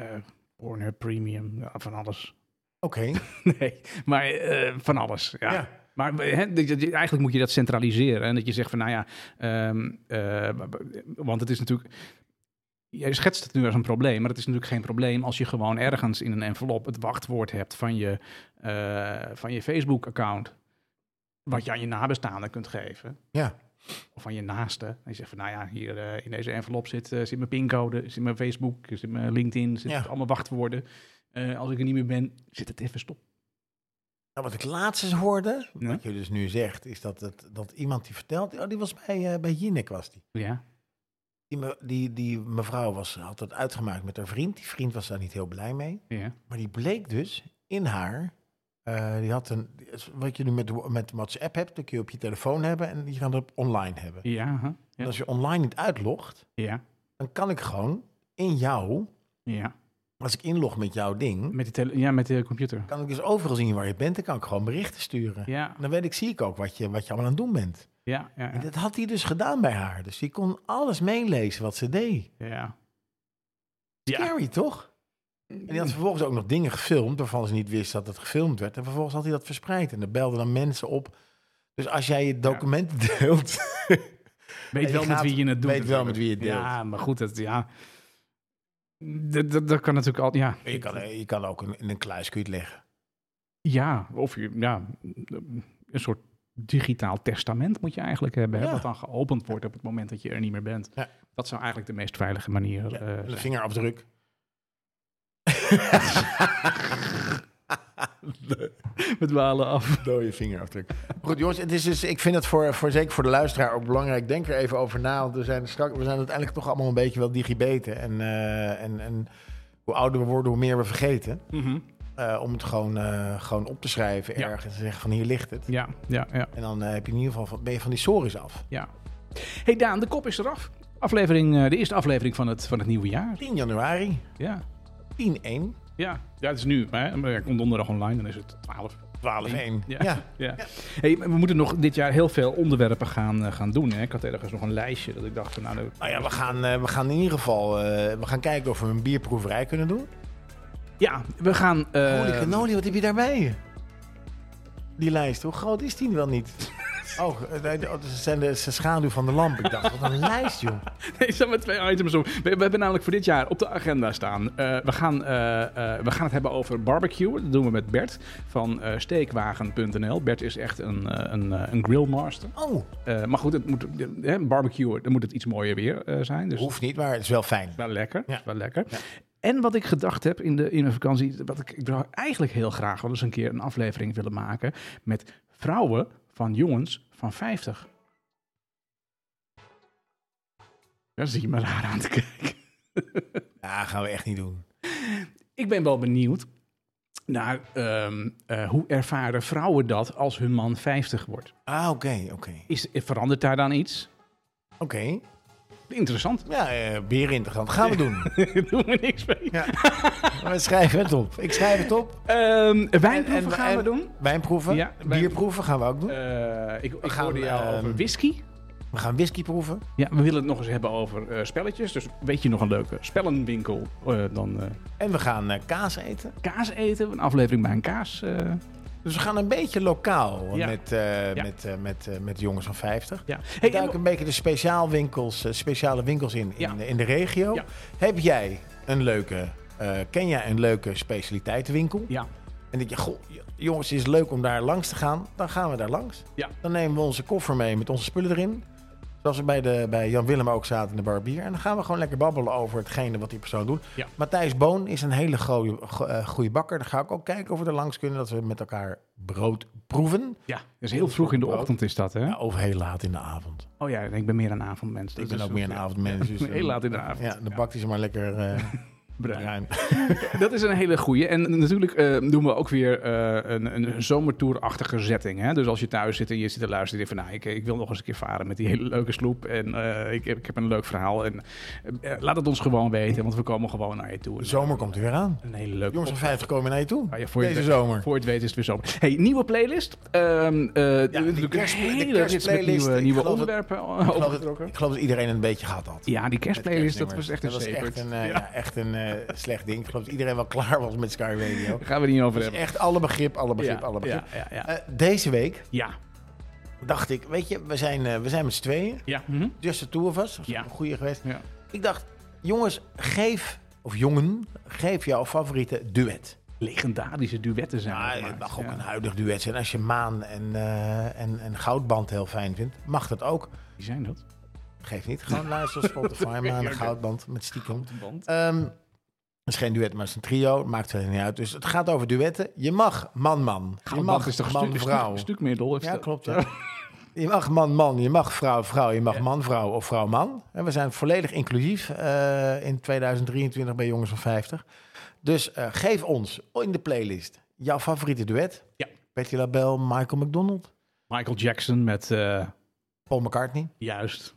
Speaker 1: Pornhub Premium, ja, van alles.
Speaker 2: Oké,
Speaker 1: Nee, maar eh, van alles, ja.
Speaker 2: ja.
Speaker 1: Maar hè, dat je- dat je- eigenlijk moet je dat centraliseren. En dat je zegt van, nou ja, ehm, eh, want het is natuurlijk... Jij schetst het nu als een probleem, maar het is natuurlijk geen probleem als je gewoon ergens in een envelop het wachtwoord hebt van je, eh, van je Facebook-account. Wat je aan je nabestaanden kunt geven.
Speaker 2: Ja.
Speaker 1: Of aan je naaste. En je zegt van, nou ja, hier eh, in deze envelop zit, eh, zit mijn pincode, zit mijn Facebook, zit mijn LinkedIn, zit
Speaker 2: Ja.
Speaker 1: allemaal wachtwoorden. Eh, als ik er niet meer ben, zit het even stop.
Speaker 2: Nou, wat ik laatst eens hoorde,
Speaker 1: Ja.
Speaker 2: wat je dus nu zegt, is dat, het, dat iemand die vertelt... Oh, die was bij, eh, bij Jinek, was die.
Speaker 1: Ja.
Speaker 2: Die, me- die, die mevrouw was, had dat uitgemaakt met haar vriend. Die vriend was daar niet heel blij mee.
Speaker 1: Ja.
Speaker 2: Maar die bleek dus in haar... eh, die had een, wat je nu met, met WhatsApp hebt, dat kun je op je telefoon hebben en die gaan op online hebben.
Speaker 1: Ja. huh?
Speaker 2: En
Speaker 1: Ja.
Speaker 2: als je online niet uitlogt,
Speaker 1: ja.
Speaker 2: dan kan ik gewoon in jou,
Speaker 1: Ja.
Speaker 2: als ik inlog met jouw ding,
Speaker 1: Met de, tele- ja, met de computer.
Speaker 2: kan ik dus overal zien waar je bent en kan ik gewoon berichten sturen.
Speaker 1: Ja.
Speaker 2: En Dan weet ik, zie ik ook wat je, wat je allemaal aan het doen bent.
Speaker 1: Ja. Ja.
Speaker 2: En
Speaker 1: ja.
Speaker 2: dat had hij dus gedaan bij haar. Dus die kon alles meelezen wat ze deed.
Speaker 1: ja.
Speaker 2: Scary, toch? En die had vervolgens ook nog dingen gefilmd waarvan ze niet wist dat het gefilmd werd. En vervolgens had hij dat verspreid. En er belden dan mensen op. Dus als jij je documenten deelt,
Speaker 1: Weet
Speaker 2: je
Speaker 1: wel met
Speaker 2: gaat-
Speaker 1: wie je het doet.
Speaker 2: weet wel met wie je het
Speaker 1: natuurlijk. Ja, maar goed, dat, ja. Dat, dat, dat kan natuurlijk altijd, ja.
Speaker 2: je kan, je kan ook in, in een kluis kun je het leggen.
Speaker 1: Ja, of je, ja, een soort digitaal testament moet je eigenlijk hebben. hè,
Speaker 2: Ja.
Speaker 1: Wat dan geopend wordt op het moment dat je er niet meer bent.
Speaker 2: Ja.
Speaker 1: Dat zou eigenlijk de meest veilige manier
Speaker 2: Ja,
Speaker 1: eh,
Speaker 2: een
Speaker 1: zijn.
Speaker 2: vingerafdruk.
Speaker 1: We dwalen af.
Speaker 2: Dode vingerafdruk. Goed, jongens, het is dus, ik vind het voor, voor, zeker voor de luisteraar ook belangrijk. Denk er even over na. Want we zijn, strak, we zijn uiteindelijk toch allemaal een beetje wel digibeten. En, eh, en, en hoe ouder we worden, hoe meer we vergeten. Eh, om het gewoon, eh, gewoon op te schrijven
Speaker 1: Ja.
Speaker 2: ergens en te zeggen van hier ligt het.
Speaker 1: Ja, ja, ja,
Speaker 2: En dan eh, heb je in ieder geval van, ben je van die sores af.
Speaker 1: ja. hey Daan, de kop is eraf. Aflevering, eh, de eerste aflevering van het, van het nieuwe jaar.
Speaker 2: 10 januari,
Speaker 1: Ja,
Speaker 2: 10-1,
Speaker 1: ja. ja het is nu. Hè? maar ja, Komt donderdag online, dan is het 12.
Speaker 2: 12-1.
Speaker 1: Ja.
Speaker 2: Ja.
Speaker 1: Ja. Hey, we moeten nog dit jaar heel veel onderwerpen gaan, eh, gaan doen. Hè? Ik had ergens nog een lijstje dat ik dacht van nou... dat-
Speaker 2: Nou ja, we gaan, eh, we gaan in ieder geval eh, we gaan kijken of we een bierproeverij kunnen doen.
Speaker 1: Ja, we gaan... eh,
Speaker 2: Holy cannoli, wat heb je daarbij? Die lijst, hoe groot is die wel niet? Oh, eh, nee, oh, dat zijn de, dat is de schaduw van de lamp. Ik dacht, wat een lijst, joh.
Speaker 1: Nee, zijn maar twee items om. We, we hebben namelijk voor dit jaar op de agenda staan. eh, we, gaan, eh, eh, we gaan het hebben over barbecue. Dat doen we met Bert van eh, steekwagen.nl. Bert is echt een, eh, een, eh, een grillmaster.
Speaker 2: Oh,
Speaker 1: Eh, maar goed, het moet, eh, barbecue, dan moet het iets mooier weer eh, zijn. Dus
Speaker 2: hoeft niet, maar het is wel fijn.
Speaker 1: wel lekker.
Speaker 2: Ja.
Speaker 1: is Wel lekker. En wat ik gedacht heb in de, in de vakantie, wat ik, ik zou eigenlijk heel graag wel eens een keer een aflevering willen maken met vrouwen van jongens van 50. Daar zie je me raar aan te kijken.
Speaker 2: Ja, gaan we echt niet doen.
Speaker 1: Ik ben wel benieuwd naar ehm, eh, hoe ervaren vrouwen dat als hun man 50 wordt.
Speaker 2: Ah, oké, oké.
Speaker 1: Is, verandert daar dan iets?
Speaker 2: Oké.
Speaker 1: Interessant.
Speaker 2: Ja, eh bier interessant. Gaan we doen.
Speaker 1: Doen we niks mee.
Speaker 2: Ja. We schrijven het op. Ik schrijf het op.
Speaker 1: Ehm, wijnproeven
Speaker 2: En- en-
Speaker 1: gaan we
Speaker 2: en
Speaker 1: doen.
Speaker 2: Wijnproeven.
Speaker 1: Ja, wijn-
Speaker 2: Bierproeven gaan we ook doen.
Speaker 1: Eh, ik ik
Speaker 2: gaan,
Speaker 1: hoorde jou
Speaker 2: ehm,
Speaker 1: over whisky.
Speaker 2: we gaan whisky proeven.
Speaker 1: Ja, we willen het nog eens hebben over eh, spelletjes. Dus weet je nog een leuke spellenwinkel? Eh, dan eh,
Speaker 2: En we gaan eh, kaas eten.
Speaker 1: kaas eten. Een aflevering bij een kaas. eh,
Speaker 2: Dus we gaan een beetje lokaal
Speaker 1: Ja.
Speaker 2: met, eh,
Speaker 1: Ja.
Speaker 2: met, eh, met, eh, met jongens van 50.
Speaker 1: ja.
Speaker 2: We
Speaker 1: Hey, en-
Speaker 2: duiken een beetje de speciaalwinkels, eh, speciale winkels in, in,
Speaker 1: Ja.
Speaker 2: de- in de regio.
Speaker 1: Ja.
Speaker 2: Heb jij een leuke, eh, ken jij een leuke specialiteitenwinkel?
Speaker 1: ja,
Speaker 2: En denk je, goh, j- jongens, het is leuk om daar langs te gaan. Dan gaan we daar langs.
Speaker 1: Ja.
Speaker 2: Dan nemen we onze koffer mee met onze spullen erin. Zoals we bij, de, bij Jan Willem ook zaten in de barbier. En dan gaan we gewoon lekker babbelen over hetgene wat die persoon doet.
Speaker 1: Ja.
Speaker 2: Matthijs Boon is een hele goede, go- eh, goede bakker. Dan ga ik ook kijken of we er langs kunnen. Dat we met elkaar brood proeven.
Speaker 1: ja, dat is heel vroeg in de ochtend is dat, hè?
Speaker 2: Ja, of heel laat in de avond.
Speaker 1: Oh ja, ik ben meer een avondmens. dus
Speaker 2: ik
Speaker 1: Dat
Speaker 2: ben
Speaker 1: is
Speaker 2: ook meer een
Speaker 1: ja.
Speaker 2: avondmens. dus, eh,
Speaker 1: Heel laat in de avond.
Speaker 2: Ja, dan bakt hij ze maar lekker eh,
Speaker 1: Bruin.
Speaker 2: bruin.
Speaker 1: Dat is een hele goeie. En natuurlijk eh, doen we ook weer eh, een, een een zomertourachtige zetting. Hè? Dus als je thuis zit en je zit te luisteren, denk je van, nou, ik, ik wil nog eens een keer varen met die hele leuke sloep. En eh, ik, heb- ik heb een leuk verhaal. En eh, laat het ons gewoon weten, want we komen gewoon naar je toe.
Speaker 2: De
Speaker 1: En
Speaker 2: zomer komt er weer aan.
Speaker 1: Een hele leuke.
Speaker 2: Jongens van 50 komen naar je toe.
Speaker 1: Ah ja, voor je
Speaker 2: Deze
Speaker 1: het-
Speaker 2: zomer.
Speaker 1: Voor het weten is het weer zomer. Hey, nieuwe playlist. Ehm eh natuurlijk
Speaker 2: kerst-
Speaker 1: een
Speaker 2: de
Speaker 1: hele rits met
Speaker 2: kerstplaylist.
Speaker 1: nieuwe,
Speaker 2: Ik
Speaker 1: nieuwe
Speaker 2: geloof het-
Speaker 1: onderwerpen
Speaker 2: Ik geloof,
Speaker 1: overgetrokken.
Speaker 2: dat, ik geloof dat iedereen het een beetje gehad had.
Speaker 1: Ja, die kerstplaylist, dat was
Speaker 2: Kerstnummers.
Speaker 1: echt een
Speaker 2: Dat was echt
Speaker 1: zeker.
Speaker 2: een, eh, ja. echt een, eh, eh, slecht ding. Ik geloof dat iedereen wel klaar was met Sky Radio.
Speaker 1: Daar gaan we het niet over
Speaker 2: Dus
Speaker 1: hebben.
Speaker 2: echt alle begrip, alle begrip,
Speaker 1: ja,
Speaker 2: alle begrip.
Speaker 1: Ja, ja, ja.
Speaker 2: Eh, deze week
Speaker 1: ja.
Speaker 2: dacht ik, weet je, we zijn, eh, we zijn met z'n tweeën.
Speaker 1: ja. mhm.
Speaker 2: Just the two of us. Dat is
Speaker 1: Ja.
Speaker 2: een goede geweest.
Speaker 1: Ja.
Speaker 2: Ik dacht, jongens, geef, of jongen, geef jouw favoriete duet.
Speaker 1: Legendarische duetten zijn.
Speaker 2: Ja,
Speaker 1: er
Speaker 2: het
Speaker 1: gemaakt,
Speaker 2: mag ook
Speaker 1: ja.
Speaker 2: een huidig duet zijn. Als je Maan en, eh, en, en Goudband heel fijn vindt, mag dat ook.
Speaker 1: Wie zijn dat?
Speaker 2: Geef niet. Gewoon luisteren op Spotify, Maan en Goudband met stiekem. Ehm, het is geen duet, maar het is een trio. Maakt verder niet uit. Dus het gaat over duetten. Je mag man-man. Je
Speaker 1: Goudband
Speaker 2: mag
Speaker 1: is toch een stuk,
Speaker 2: man-vrouw.
Speaker 1: stuk, stuk middel? Of
Speaker 2: Ja,
Speaker 1: dat-
Speaker 2: klopt. Ja. Je mag man-man, je mag vrouw-vrouw, je mag man-vrouw of vrouw-man. En We zijn volledig inclusief eh, in 2023 bij Jongens van 50. Dus eh, geef ons in de playlist jouw favoriete duet.
Speaker 1: Ja.
Speaker 2: Betty LaBelle, Michael McDonald,
Speaker 1: Michael Jackson met, eh,
Speaker 2: Paul McCartney
Speaker 1: juist,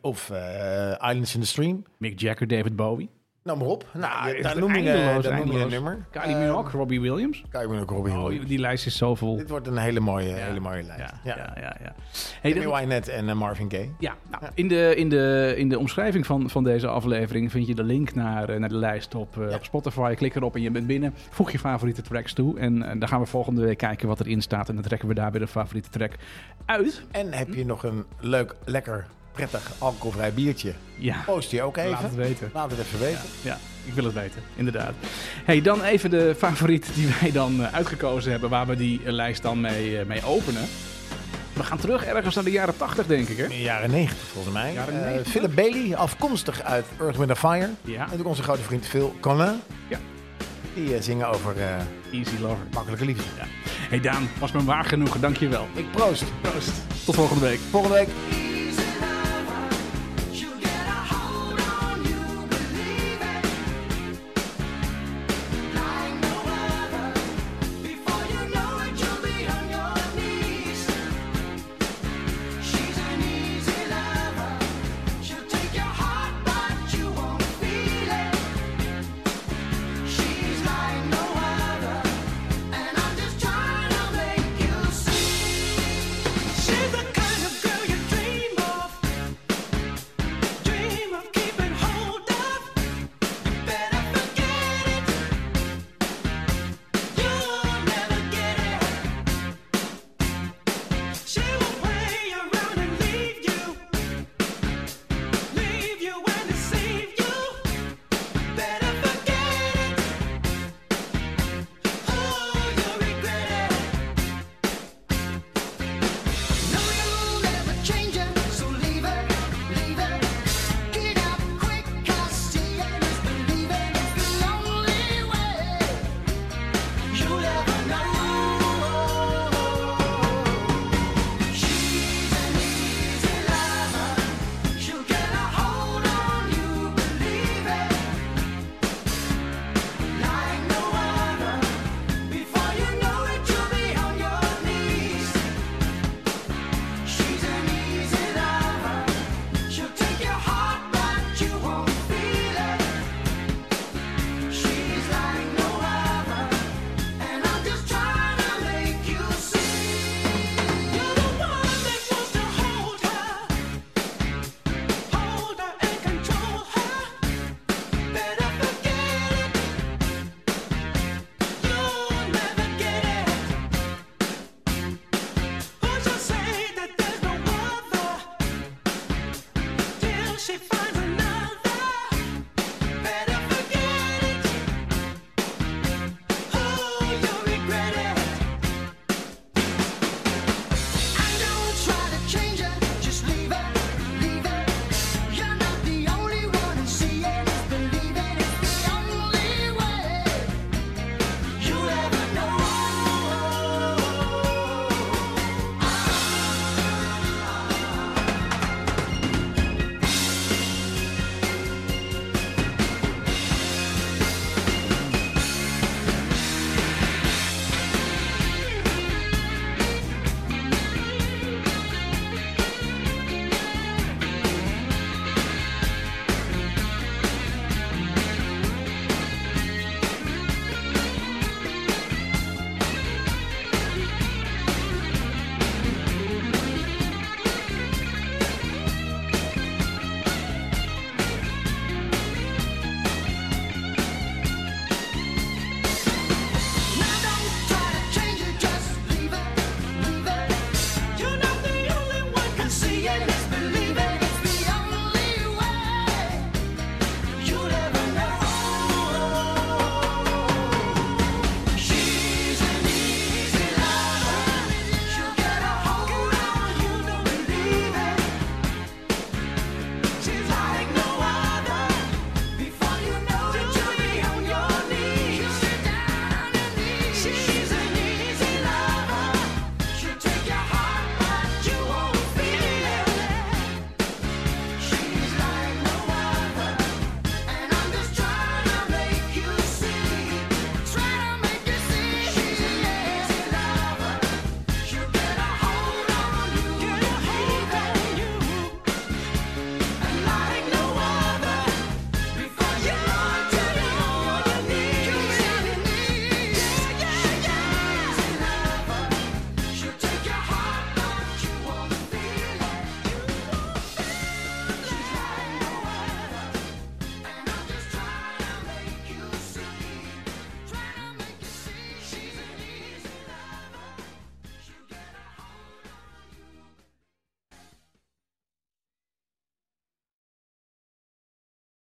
Speaker 2: of eh, Islands in the Stream.
Speaker 1: Mick Jagger, David Bowie.
Speaker 2: Nou maar op. Nou,
Speaker 1: echt
Speaker 2: daar noem je,
Speaker 1: eindeloos,
Speaker 2: daar noem je een
Speaker 1: eindeloos.
Speaker 2: nummer. Eh,
Speaker 1: Kylie Minogue, Robbie Williams.
Speaker 2: Kan je me ook Ehm. Robbie
Speaker 1: Oh,
Speaker 2: Williams.
Speaker 1: die lijst is zo vol.
Speaker 2: Dit wordt een hele mooie, hele mooie lijst.
Speaker 1: Ja,
Speaker 2: Ja.
Speaker 1: ja, ja. ja, Hey,
Speaker 2: Amy
Speaker 1: dat-
Speaker 2: Wynette en eh, Marvin Gaye.
Speaker 1: Ja, nou, In, de, in, de, in de omschrijving van, van deze aflevering vind je de link naar, eh, naar de lijst op, eh,
Speaker 2: Ja.
Speaker 1: op Spotify. Klik erop en je bent binnen. Voeg je favoriete tracks toe. En, eh, dan gaan we volgende week kijken wat erin staat. En dan trekken we daar weer een favoriete track uit.
Speaker 2: En heb
Speaker 1: Hm?
Speaker 2: je nog een leuk, lekker, prettig alcoholvrij biertje?
Speaker 1: Ja,
Speaker 2: Post je ook even.
Speaker 1: laat het weten.
Speaker 2: Laat het even weten.
Speaker 1: Ja, ik wil het weten, inderdaad. hey, dan even de favoriet die wij dan eh, uitgekozen hebben. Waar we die eh, lijst dan mee, eh, mee openen. We gaan terug ergens naar de jaren 80, denk ik. Hè?
Speaker 2: In de jaren 90 volgens mij.
Speaker 1: Jaren
Speaker 2: Eh,
Speaker 1: 90.
Speaker 2: Philip Bailey, afkomstig uit Earth, Wind and Fire.
Speaker 1: Ja.
Speaker 2: En ook onze grote vriend Phil Collin.
Speaker 1: Ja.
Speaker 2: Die eh, zingen over eh,
Speaker 1: Easy Lover.
Speaker 2: makkelijke liefde.
Speaker 1: hey Daan, was me waar genoegen. Dank je wel.
Speaker 2: Ik proost.
Speaker 1: Proost. Tot volgende week.
Speaker 2: Volgende week.
Speaker 3: Thank Oh,